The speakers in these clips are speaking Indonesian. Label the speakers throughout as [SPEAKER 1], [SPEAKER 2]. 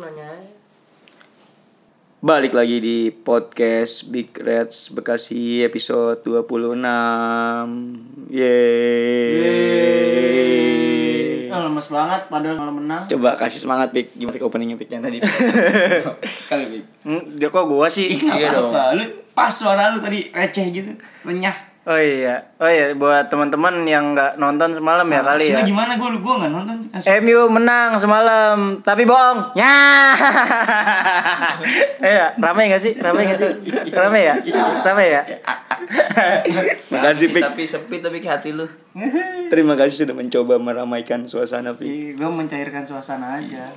[SPEAKER 1] Nanya aja.
[SPEAKER 2] Balik lagi di podcast Big Reds Bekasi episode 26 Yeay
[SPEAKER 1] Ah, lemes banget padahal kalau menang.
[SPEAKER 2] Coba kasih semangat Big Gimana Big, openingnya Big yang tadi Hmm, Kali Big
[SPEAKER 3] Dia kok gua sih?
[SPEAKER 2] Iya dong
[SPEAKER 1] Apa? Lu pas suara lu tadi receh gitu, renyah.
[SPEAKER 3] Oh iya, oh iya buat teman-teman yang nggak nonton semalam ya kali
[SPEAKER 1] Ah, Maksudnya
[SPEAKER 3] ya.
[SPEAKER 1] gimana gue lu gue nggak nonton. Asli.
[SPEAKER 3] MU menang semalam, tapi bohong. Ya. eh, rame gak sih? Rame gak sih? Rame ya? Rame ya?
[SPEAKER 2] Makasih Big
[SPEAKER 4] tapi sepi tapi ke hati lu
[SPEAKER 2] Terima kasih sudah mencoba meramaikan suasana Big
[SPEAKER 1] Gue mencairkan suasana aja.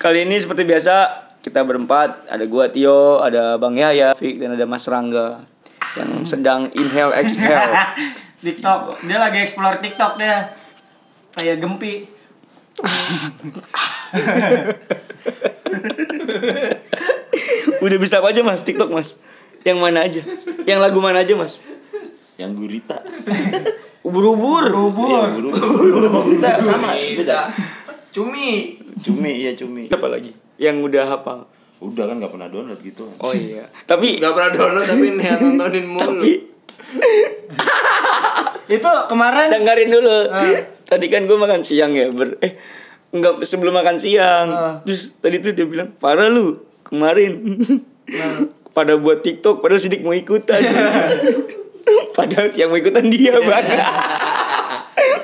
[SPEAKER 2] Kali ini seperti biasa kita berempat ada gua Tio, ada Bang Yaya, Fik dan ada Mas Rangga yang sedang inhale exhale.
[SPEAKER 1] TikTok, dia lagi explore TikTok dia. Kayak gempi.
[SPEAKER 2] Udah bisa apa aja mas TikTok mas? Yang mana aja? Yang lagu mana aja mas?
[SPEAKER 4] yang gurita
[SPEAKER 2] Ubur-ubur
[SPEAKER 1] Iya, Bubur.
[SPEAKER 4] gurita sama beda
[SPEAKER 5] cumi
[SPEAKER 4] cumi iya cumi
[SPEAKER 2] Apa lagi? Yang udah hafal
[SPEAKER 4] udah kan nggak pernah download gitu
[SPEAKER 2] Oh iya Tapi
[SPEAKER 5] nggak pernah download tapi nih nontonin mulu
[SPEAKER 2] Tapi
[SPEAKER 1] Itu kemarin
[SPEAKER 2] dengerin dulu Tadi kan gue makan siang ya ber Eh Enggak sebelum makan siang Terus tadi tuh dia bilang Parah lu Kemarin Pada buat TikTok Padahal sidik mau ikutan Padahal yang mau ikutan dia banget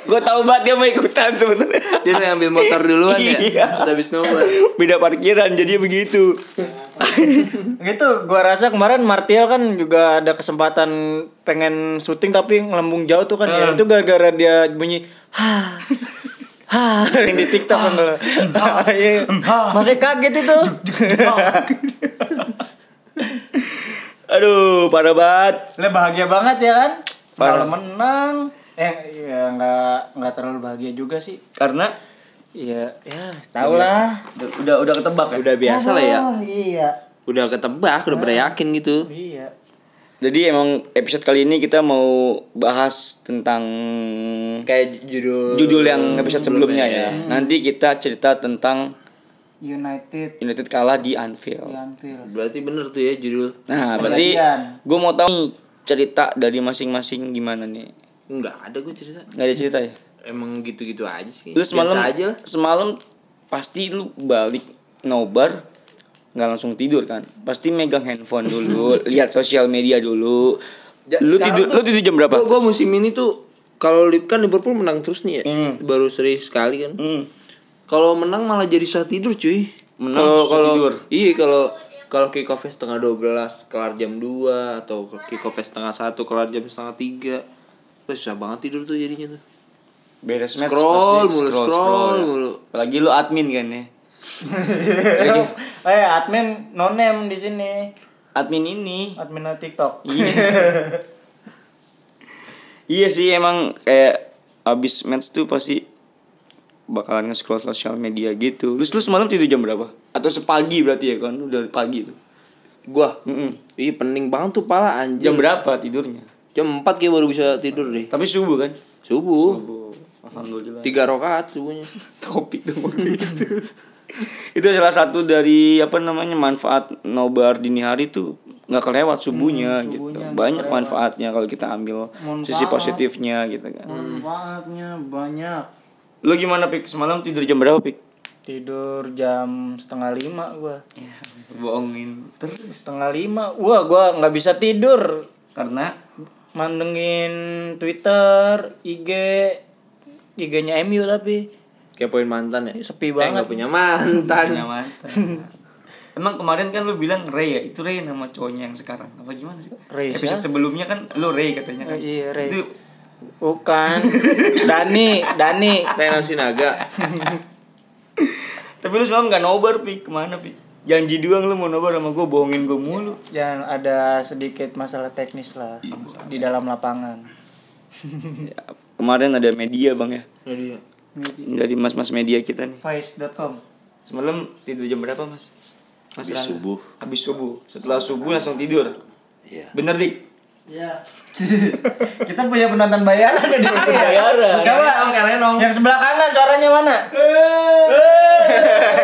[SPEAKER 2] Gue tau banget dia mau ikutan sebenernya
[SPEAKER 5] dia tuh ngambil motor duluan ya
[SPEAKER 2] Iya.
[SPEAKER 5] Terus habis nomor
[SPEAKER 2] beda parkiran jadi begitu
[SPEAKER 3] gitu gua rasa kemarin Martial kan juga ada kesempatan pengen syuting tapi ngelambung jauh tuh kan ya
[SPEAKER 4] Hmm.
[SPEAKER 3] itu gara-gara dia bunyi ha ha yang di TikTok kan
[SPEAKER 4] Hmm.
[SPEAKER 3] kalau Iya. makanya kaget itu
[SPEAKER 2] aduh parah banget
[SPEAKER 1] Lah bahagia banget ya kan?
[SPEAKER 2] Parah.
[SPEAKER 1] Semalam menang. Eh ya nggak nggak terlalu bahagia juga sih.
[SPEAKER 2] karena
[SPEAKER 1] Iya, ya tau lah.
[SPEAKER 4] udah udah ketebak ya
[SPEAKER 2] udah biasa lah ya
[SPEAKER 1] Oh, iya.
[SPEAKER 5] udah ketebak udah pada yakin gitu
[SPEAKER 1] Iya.
[SPEAKER 2] jadi emang episode kali ini kita mau bahas tentang
[SPEAKER 4] kayak judul
[SPEAKER 2] judul yang episode sebelumnya ya nanti kita cerita tentang
[SPEAKER 1] United
[SPEAKER 2] United kalah di
[SPEAKER 5] Ya.
[SPEAKER 2] Anfield
[SPEAKER 1] Anfield.
[SPEAKER 5] berarti bener tuh ya judul
[SPEAKER 2] nah berarti
[SPEAKER 1] Kejadian.
[SPEAKER 2] gue mau tahu nih cerita dari masing-masing gimana nih
[SPEAKER 5] nggak ada gue cerita
[SPEAKER 2] nggak ada cerita ya
[SPEAKER 5] emang gitu-gitu aja sih
[SPEAKER 2] lu semalam
[SPEAKER 5] Biasa aja lah
[SPEAKER 2] semalam pasti lu balik nobar nggak langsung tidur kan pasti megang handphone dulu lihat sosial media dulu
[SPEAKER 5] Ja-
[SPEAKER 2] lu
[SPEAKER 5] sekarang
[SPEAKER 2] tidur
[SPEAKER 5] tuh-
[SPEAKER 2] lu tidur jam berapa
[SPEAKER 5] gue musim ini tuh kalau li- kan Liverpool menang terus nih ya
[SPEAKER 2] Hmm.
[SPEAKER 5] baru seri sekali kan kalau menang malah jadi susah tidur cuy
[SPEAKER 2] Menang
[SPEAKER 5] Kalau-
[SPEAKER 2] susah
[SPEAKER 5] kalau
[SPEAKER 2] tidur.
[SPEAKER 5] iya kalau kalau kick off setengah 12 kelar jam 2 atau kick off setengah 1 kelar jam setengah 3 Wah, susah banget tidur tuh jadinya tuh
[SPEAKER 2] beres match
[SPEAKER 5] Scroll
[SPEAKER 2] pasti
[SPEAKER 5] mulu, scroll mulu.
[SPEAKER 2] apalagi lu admin kan ya
[SPEAKER 1] eh admin no name di sini.
[SPEAKER 2] admin ini
[SPEAKER 1] Admin TikTok.
[SPEAKER 2] iya sih emang kayak abis match tuh pasti bakalan nge-scroll sosial media gitu terus lu semalam tidur jam berapa atau sepagi berarti ya kan udah pagi tuh
[SPEAKER 5] gua
[SPEAKER 2] Mm-mm.
[SPEAKER 5] iya pening banget tuh pala anjir
[SPEAKER 2] jam berapa tidurnya
[SPEAKER 5] jam 4 kayak baru bisa tidur deh
[SPEAKER 2] tapi subuh kan
[SPEAKER 5] subuh
[SPEAKER 2] subuh alhamdulillah
[SPEAKER 5] tiga rokaat subuhnya
[SPEAKER 2] topik dong waktu itu itu salah satu dari apa namanya manfaat nobar dini hari tuh nggak kelewat subuhnya, gitu banyak manfaatnya kalau kita ambil sisi positifnya gitu kan
[SPEAKER 1] Manfaatnya banyak.
[SPEAKER 2] lo gimana pik semalam tidur jam berapa pik
[SPEAKER 1] Tidur jam setengah lima gua.
[SPEAKER 2] bohongin
[SPEAKER 1] Terus setengah lima, wah gua nggak bisa tidur.
[SPEAKER 2] karena
[SPEAKER 1] Mandengin Twitter, IG, IG-nya MU tapi
[SPEAKER 5] kayak poin mantan ya eh
[SPEAKER 1] sepi
[SPEAKER 5] nggak
[SPEAKER 1] banget.
[SPEAKER 5] punya mantan
[SPEAKER 2] nyaman Emang kemarin kan lu bilang Ray ya, itu Ray nama cowoknya yang sekarang. Apa gimana sih?
[SPEAKER 1] Ray
[SPEAKER 2] Episode sebelumnya kan lu Ray katanya kan.
[SPEAKER 1] Iya, Ray.
[SPEAKER 2] Itu
[SPEAKER 1] Bukan. Dani, Dani.
[SPEAKER 5] Reno Sinaga
[SPEAKER 2] Tapi lu semalam gak nobar, Pi. Kemana, Pi? Janji doang lu mau nobar sama gue, bohongin gue mulu.
[SPEAKER 1] Jangan ada sedikit masalah teknis lah di dalam lapangan.
[SPEAKER 2] Kemarin ada media, Bang ya.
[SPEAKER 5] Jadi
[SPEAKER 2] Dari mas-mas media kita nih.
[SPEAKER 1] Vice.com.
[SPEAKER 2] Semalam tidur jam berapa, Mas? Mas
[SPEAKER 3] Habis
[SPEAKER 2] Rana.
[SPEAKER 3] subuh.
[SPEAKER 2] Habis subuh. Setelah subuh langsung tidur.
[SPEAKER 3] Iya.
[SPEAKER 2] Bener, Dik?
[SPEAKER 6] Iya.
[SPEAKER 1] Kita punya penonton bayaran ya di sini.
[SPEAKER 2] Bayaran.
[SPEAKER 1] Coba
[SPEAKER 6] Lenong, kayak lenong.
[SPEAKER 1] yang sebelah kanan suaranya mana?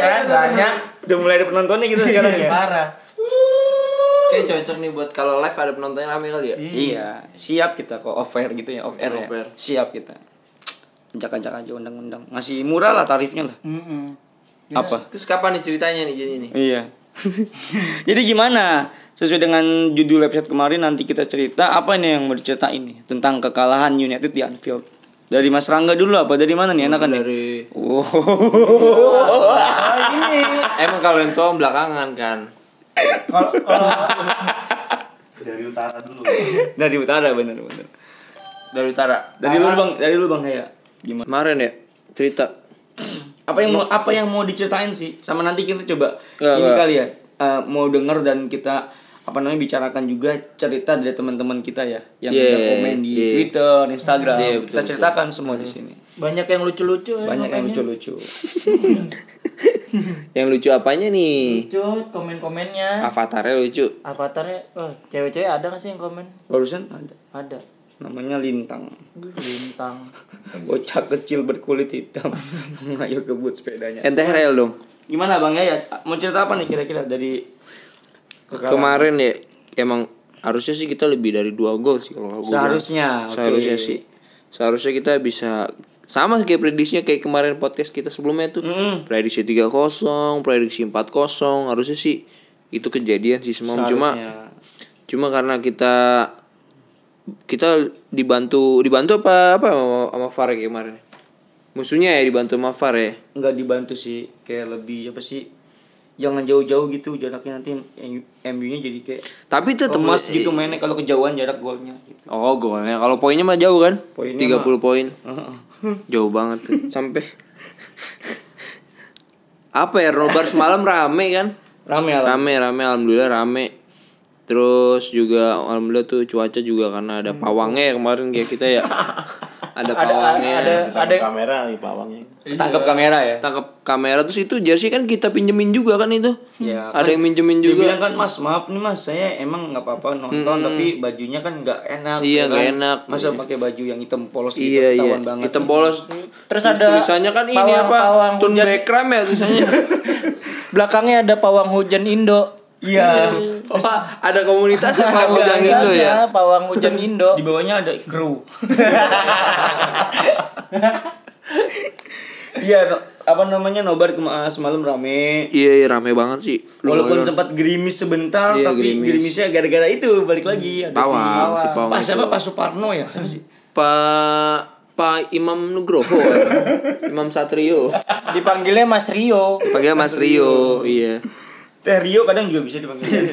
[SPEAKER 1] Kan banyak
[SPEAKER 2] Udah mulai ada penontonnya kita sekarang ya.
[SPEAKER 1] parah.
[SPEAKER 5] kayak cocok nih buat kalau live ada penontonnya rame kali ya.
[SPEAKER 2] Iya, siap kita kok off air gitu ya, off air ya.
[SPEAKER 5] Off air.
[SPEAKER 2] Siap kita. Ajak-ajak aja undang-undang. Ngasih murah lah tarifnya lah.
[SPEAKER 1] Mm-mm.
[SPEAKER 2] Apa?
[SPEAKER 5] Terus kapan nih ceritanya nih jadi nih?
[SPEAKER 2] Iya. Jadi gimana? Sesuai dengan judul episode kemarin nanti kita cerita apa nih yang mau diceritain nih tentang kekalahan United di Anfield. Dari Mas Rangga dulu apa dari mana nih enakan nih?
[SPEAKER 5] Dari
[SPEAKER 2] Wow.
[SPEAKER 5] Emang kalau yang tua belakangan kan.
[SPEAKER 1] Kalau kalau
[SPEAKER 3] Dari utara dulu.
[SPEAKER 2] dari utara bener bener.
[SPEAKER 5] Dari utara.
[SPEAKER 2] Dari lu bang, dari lu bang ya. Gimana?
[SPEAKER 5] Kemarin ya cerita
[SPEAKER 2] Apa yang mau apa yang mau diceritain sih? Sama nanti kita coba
[SPEAKER 5] Nggak,
[SPEAKER 2] ini
[SPEAKER 5] nggak.
[SPEAKER 2] kali ya. eh, mau denger dan kita apa namanya bicarakan juga cerita dari teman-teman kita ya yang
[SPEAKER 5] Yeah,
[SPEAKER 2] udah komen di
[SPEAKER 5] yeah.
[SPEAKER 2] Twitter, Instagram.
[SPEAKER 5] Yeah, Iya, betul,
[SPEAKER 2] kita
[SPEAKER 5] betul. Hmm.
[SPEAKER 2] ceritakan semua di sini.
[SPEAKER 1] banyak yang lucu-lucu ya.
[SPEAKER 2] Banyak yang
[SPEAKER 1] makanya.
[SPEAKER 2] lucu-lucu.
[SPEAKER 5] yang lucu apanya nih?
[SPEAKER 1] Lucu komen-komennya.
[SPEAKER 5] Avatarnya lucu.
[SPEAKER 1] Avatarnya, oh, cewek-cewek ada gak sih yang komen?
[SPEAKER 2] Barusan ada
[SPEAKER 1] Ada.
[SPEAKER 2] namanya Lintang.
[SPEAKER 1] Bintang.
[SPEAKER 2] Bocah kecil berkulit hitam mengayu kebut sepedanya.
[SPEAKER 5] NTRL dong.
[SPEAKER 2] Gimana Bang ya? Mau cerita apa nih kira-kira dari kekalahan?
[SPEAKER 5] Kemarin ya emang harusnya sih kita lebih dari dua gol sih kalau gua bilang.
[SPEAKER 2] Seharusnya, oke.
[SPEAKER 5] Seharusnya sih. Seharusnya kita bisa sama kayak prediksinya kayak kemarin podcast kita sebelumnya tuh. Prediksi 3-0, prediksi 4-0, harusnya sih itu kejadian sih semua cuma
[SPEAKER 2] Seharusnya.
[SPEAKER 5] cuma karena kita kita dibantu dibantu apa apa sama, sama VAR ya kemarin musuhnya ya dibantu sama VAR ya
[SPEAKER 2] nggak dibantu sih kayak lebih apa sih? Jangan jauh-jauh gitu jaraknya nanti MU-nya jadi kayak
[SPEAKER 5] tapi tetap
[SPEAKER 2] lemas gitu mainnya kalau kejauhan jarak golnya gitu.
[SPEAKER 5] iya, oh golnya kalau poinnya mah jauh kan
[SPEAKER 2] Poinnya
[SPEAKER 5] 30
[SPEAKER 2] mah-
[SPEAKER 5] poin jauh banget tuh. sampai apa ya nobar semalam rame kan
[SPEAKER 2] Rame lah.
[SPEAKER 5] rame rame alhamdulillah rame terus juga alhamdulillah tuh cuaca juga karena ada pawangnya ya kemarin kayak kita ya ada pawangnya
[SPEAKER 1] Ada
[SPEAKER 3] Ada
[SPEAKER 1] ada
[SPEAKER 3] kamera nih pawangnya.
[SPEAKER 5] Iya.
[SPEAKER 2] Tangkap kamera ya.
[SPEAKER 5] tangkap kamera terus itu jersey kan kita pinjemin juga kan itu
[SPEAKER 2] Ya,
[SPEAKER 5] ada
[SPEAKER 2] kan
[SPEAKER 5] yang minjemin
[SPEAKER 2] Dia
[SPEAKER 5] juga
[SPEAKER 2] bilang kan mas maaf nih mas saya emang nggak apa-apa nonton tapi bajunya kan nggak enak
[SPEAKER 5] Iya,
[SPEAKER 2] ya kan?
[SPEAKER 5] nggak enak.
[SPEAKER 2] masa pakai baju yang hitam polos gitu
[SPEAKER 5] iya iya
[SPEAKER 2] ketahuan banget
[SPEAKER 5] hitam polos
[SPEAKER 1] Terus ada
[SPEAKER 5] tulisannya kan ini
[SPEAKER 1] pawang-
[SPEAKER 5] apa
[SPEAKER 1] pawang
[SPEAKER 5] tun
[SPEAKER 1] hujan.
[SPEAKER 5] backram ya tulisannya
[SPEAKER 1] belakangnya ada pawang hujan Indo.
[SPEAKER 2] iya
[SPEAKER 5] Wah, Oh, ada komunitas ya pawang
[SPEAKER 2] Ada,
[SPEAKER 5] hujan
[SPEAKER 2] ada,
[SPEAKER 5] Indo ya
[SPEAKER 1] Ada pawang hujan Indo.
[SPEAKER 2] di bawahnya ada kru iya no- apa namanya nobar kema- ah, semalam rame
[SPEAKER 5] iya iya, rame banget sih
[SPEAKER 2] walaupun sempat gerimis sebentar
[SPEAKER 5] Iya,
[SPEAKER 2] tapi
[SPEAKER 5] gerimis.
[SPEAKER 2] gerimisnya gara-gara itu balik lagi ada si
[SPEAKER 5] Pawang, si pawang
[SPEAKER 2] Pak
[SPEAKER 5] itu.
[SPEAKER 2] siapa Pak Suparno ya siapa sih
[SPEAKER 5] pak pak Imam Nugroho Imam Satrio
[SPEAKER 1] Dipanggilnya Eh, Mas Rio.
[SPEAKER 5] panggil Mas Rio iya
[SPEAKER 2] Teh Eh, Rio kadang juga bisa dipanggil.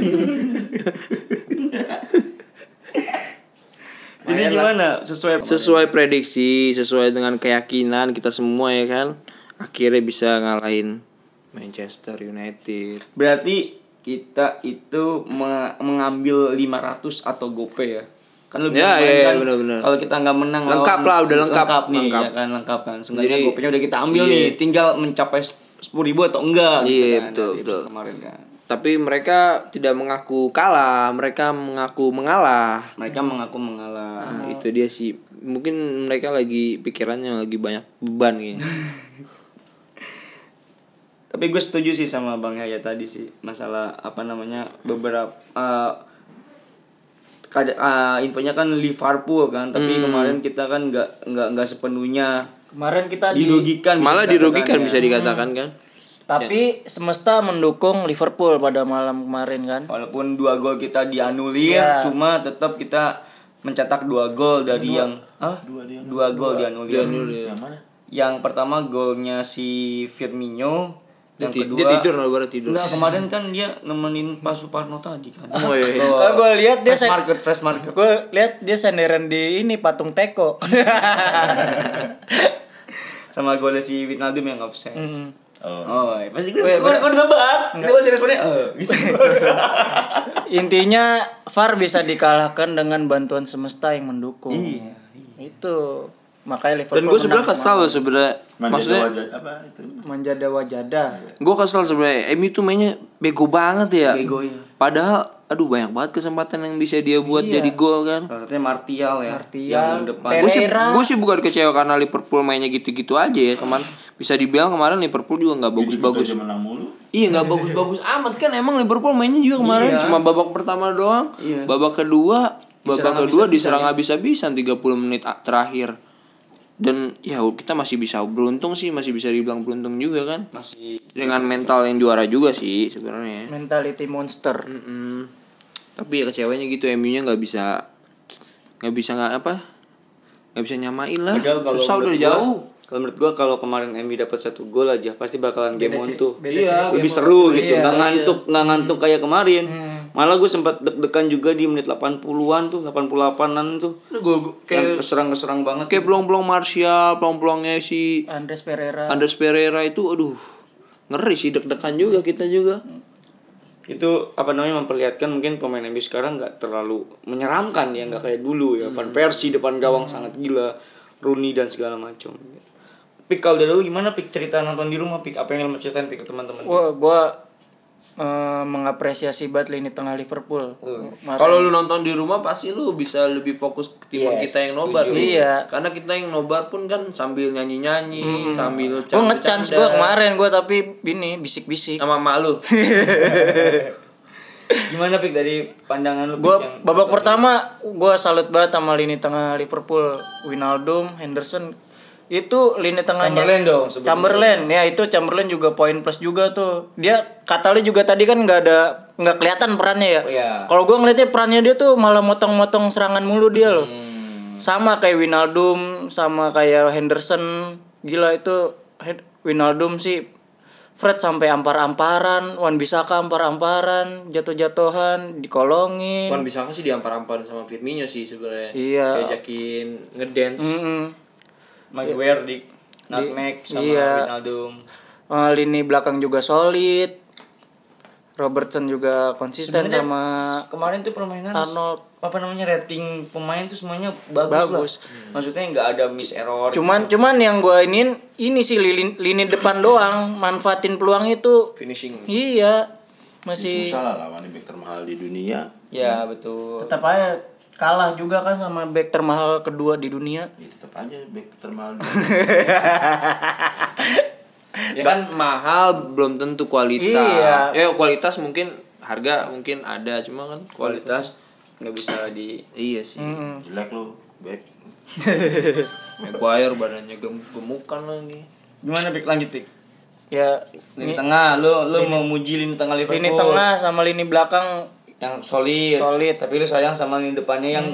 [SPEAKER 2] Jadi gimana sesuai
[SPEAKER 5] sesuai prediksi sesuai dengan keyakinan kita semua ya kan akhirnya bisa ngalahin Manchester United
[SPEAKER 2] berarti kita itu me- mengambil 500 atau gope ya. Kan lebih
[SPEAKER 5] Ya,
[SPEAKER 2] lumayan
[SPEAKER 5] iya,
[SPEAKER 2] kan
[SPEAKER 5] benar-benar.
[SPEAKER 2] kalau kita nggak menang
[SPEAKER 5] Lengkap lah, udah lengkap.
[SPEAKER 2] nih
[SPEAKER 5] Lengkap.
[SPEAKER 2] ya kan lengkap kan. Seenggaknya
[SPEAKER 5] Jadi-
[SPEAKER 2] gopenya udah kita ambil
[SPEAKER 5] Iya.
[SPEAKER 2] nih, tinggal mencapai 10 ribu atau enggak
[SPEAKER 5] Iya,
[SPEAKER 2] kan,
[SPEAKER 5] betul,
[SPEAKER 2] dari
[SPEAKER 5] betul.
[SPEAKER 2] Kemarin kan.
[SPEAKER 5] tapi mereka tidak mengaku kalah mereka mengaku mengalah
[SPEAKER 2] Mereka mengaku mengalah.
[SPEAKER 5] Nah, itu dia sih mungkin mereka lagi pikirannya lagi banyak beban kayaknya
[SPEAKER 2] tapi gue setuju sih sama bang Yaya tadi sih masalah apa namanya beberapa eh, kada, eh, infonya kan Liverpool kan tapi
[SPEAKER 5] Hmm.
[SPEAKER 2] kemarin kita kan nggak nggak nggak sepenuhnya
[SPEAKER 1] Kemarin kita di,
[SPEAKER 2] dirugikan bisa
[SPEAKER 5] malah
[SPEAKER 2] dikatakan
[SPEAKER 5] dirugikan
[SPEAKER 2] ya.
[SPEAKER 5] bisa dikatakan kan
[SPEAKER 1] tapi semesta mendukung Liverpool pada malam kemarin kan.
[SPEAKER 2] walaupun dua gol kita dianulir
[SPEAKER 1] Iya.
[SPEAKER 2] cuma tetap kita mencetak dua gol dari yang Hah? dua, gol dianulir
[SPEAKER 5] iya.
[SPEAKER 3] Yang mana?
[SPEAKER 2] yang pertama golnya si Firmino
[SPEAKER 5] dia,
[SPEAKER 2] yang
[SPEAKER 5] ti-
[SPEAKER 2] kedua
[SPEAKER 5] dia tidur lah baru tidur
[SPEAKER 2] Nah, kemarin kan dia nemenin Pak Suparno tadi kan.
[SPEAKER 5] Oh, iya, iya.
[SPEAKER 2] Ke-
[SPEAKER 1] Oh, gua lihat dia
[SPEAKER 2] fresh
[SPEAKER 1] sen-
[SPEAKER 2] market, fresh market.
[SPEAKER 1] Gue lihat dia senderan di ini patung teko.
[SPEAKER 2] Sama golnya si Wijnaldum yang iya. offside.
[SPEAKER 5] Hmm.
[SPEAKER 1] Mm.
[SPEAKER 7] Oh, pasti gue.
[SPEAKER 1] iya,
[SPEAKER 2] Gue gue nebak. Dia masih responnya eh gitu.
[SPEAKER 1] Intinya VAR bisa dikalahkan dengan bantuan semesta yang mendukung. Itu makanya Liverpool.
[SPEAKER 5] Dan gue
[SPEAKER 1] menang
[SPEAKER 5] sebenarnya kesal loh sebenarnya.
[SPEAKER 3] Maksudnya
[SPEAKER 5] Maksudnya
[SPEAKER 3] wajah apa itu?
[SPEAKER 1] semalam. Manjada wajada.
[SPEAKER 5] gue kesel sebenarnya MU tuh mainnya bego banget ya.
[SPEAKER 7] Bego, iya.
[SPEAKER 5] Padahal aduh banyak banget kesempatan yang bisa dia buat jadi gol kan.
[SPEAKER 7] Salah satunya Martial ya.
[SPEAKER 1] Martial,
[SPEAKER 7] Yang depan.
[SPEAKER 5] Gue sih,
[SPEAKER 1] Pereira.
[SPEAKER 5] gue sih bukan kecewa karena Liverpool mainnya gitu-gitu aja ya, cuman bisa dibilang kemarin Liverpool juga nggak bagus-bagus.
[SPEAKER 3] Gitu aja menang mulu.
[SPEAKER 5] Iya nggak bagus-bagus amat kan emang Liverpool mainnya juga kemarin
[SPEAKER 7] Iya.
[SPEAKER 5] cuma babak pertama doang,
[SPEAKER 7] Iya.
[SPEAKER 5] babak kedua, babak
[SPEAKER 7] Diserang
[SPEAKER 5] kedua
[SPEAKER 7] habis-habisan
[SPEAKER 5] diserang habis-habisan 30 menit a- terakhir. Dan ya kita masih bisa beruntung sih, masih bisa dibilang beruntung juga kan.
[SPEAKER 7] Masih
[SPEAKER 5] Dengan mental yang juara juga sih sebenarnya.
[SPEAKER 1] Mentality monster.
[SPEAKER 5] Mm-mm. Tapi ya kecewanya gitu MU-nya nggak bisa nggak bisa nggak apa? nggak bisa nyamain lah.
[SPEAKER 2] Padahal kalau
[SPEAKER 5] Susah udah
[SPEAKER 2] menurut gua-
[SPEAKER 5] jauh.
[SPEAKER 2] Kalau menurut gua kalau kemarin MU dapat satu gol aja pasti bakalan game on tuh.
[SPEAKER 1] beda
[SPEAKER 5] Iya, game
[SPEAKER 2] lebih seru
[SPEAKER 5] on.
[SPEAKER 2] gitu
[SPEAKER 5] Iya,
[SPEAKER 2] nggak
[SPEAKER 5] iya.
[SPEAKER 2] ngantuk nggak ngantuk kayak kemarin malah gue sempat deg-degan juga di menit 80-an tuh 88-an tuh
[SPEAKER 5] Ini gua- gua-
[SPEAKER 2] kayak
[SPEAKER 5] kayak
[SPEAKER 2] keserang-keserang banget
[SPEAKER 5] kayak pelong-pelong Martial, pelong-pelongnya si
[SPEAKER 1] Andres Pereira.
[SPEAKER 5] Andes Pereira itu aduh ngeri sih deg-degan juga kita juga
[SPEAKER 2] itu apa namanya memperlihatkan mungkin pemain MU sekarang nggak terlalu menyeramkan ya nggak kayak dulu ya Van Persie depan gawang sangat gila Rooney dan segala macam Pik kalau dari lu gimana pik cerita nonton di rumah pik apa yang lu mau ceritain pik ke teman-teman
[SPEAKER 1] Wah, gue eh, mengapresiasi banget lini tengah Liverpool. Kemarin-
[SPEAKER 5] kalau lu nonton di rumah pasti lu bisa lebih fokus ke timbang kita yang nobar
[SPEAKER 1] Iya.
[SPEAKER 5] karena kita yang nobar pun kan sambil nyanyi nyanyi sambil
[SPEAKER 1] gue ngechance gue kemarin gue tapi ini bisik-bisik.
[SPEAKER 5] sama mak lu
[SPEAKER 2] gimana pik dari pandangan lu Pik, ya?
[SPEAKER 1] Gue
[SPEAKER 2] yang-
[SPEAKER 1] babak pertama gue salut banget sama lini tengah Liverpool, Winaldum, Henderson itu lini tengahnya
[SPEAKER 2] Chamberlain dong sebelum-
[SPEAKER 1] Chamberlain ya itu Chamberlain juga poin plus juga tuh dia kata lu juga tadi kan nggak ada nggak kelihatan perannya ya
[SPEAKER 2] Iya.
[SPEAKER 1] kalau gue ngeliatnya perannya dia tuh malah motong-motong serangan mulu dia loh
[SPEAKER 2] Hmm.
[SPEAKER 1] sama kayak Winaldum sama kayak Henderson gila itu He- Winaldum sih Fred sampai ampar-amparan Wan Bisaka ampar-amparan jatuh-jatuhan dikolongin
[SPEAKER 5] kan bisa sih diampar-amparan sama Firmino sih sebenarnya
[SPEAKER 1] Iya.
[SPEAKER 5] diajakin ngedance
[SPEAKER 1] Mm-mm.
[SPEAKER 2] Maguire di Nutmeg sama
[SPEAKER 1] iya.
[SPEAKER 2] Wijnaldum.
[SPEAKER 1] Eh, lini belakang juga solid Robertson juga konsisten sama
[SPEAKER 2] Nah, Kemarin tuh permainan
[SPEAKER 1] Arnold
[SPEAKER 2] apa namanya rating pemain tuh semuanya bagus,
[SPEAKER 1] Bagus.
[SPEAKER 2] lah. Maksudnya nggak ada miss error.
[SPEAKER 1] cuman cuman yang gue ingin ini sih lini, lini depan doang manfaatin peluang itu
[SPEAKER 5] finishing
[SPEAKER 1] iya masih
[SPEAKER 3] Susah lah lawannya back termahal di dunia.
[SPEAKER 2] ya betul.
[SPEAKER 1] tetap aja kalah juga kan sama back termahal kedua di dunia
[SPEAKER 3] Ya tetap aja back termahal. di dunia.
[SPEAKER 5] ya kan mahal belum tentu kualitas
[SPEAKER 1] Iya.
[SPEAKER 5] ya kualitas mungkin harga mungkin ada cuma kan kualitas,
[SPEAKER 2] Kualitas nggak bisa di
[SPEAKER 5] iya sih
[SPEAKER 3] Jelek lu back.
[SPEAKER 5] Maguire badannya gem- gemukan lagi
[SPEAKER 2] gimana pik lanjut pik
[SPEAKER 1] ya
[SPEAKER 2] lini tengah lu lu mau muji lini tengah Liverpool
[SPEAKER 3] Oh.
[SPEAKER 1] lini tengah sama lini belakang
[SPEAKER 2] yang solid
[SPEAKER 1] Solid.
[SPEAKER 2] tapi lu sayang sama lini depannya yang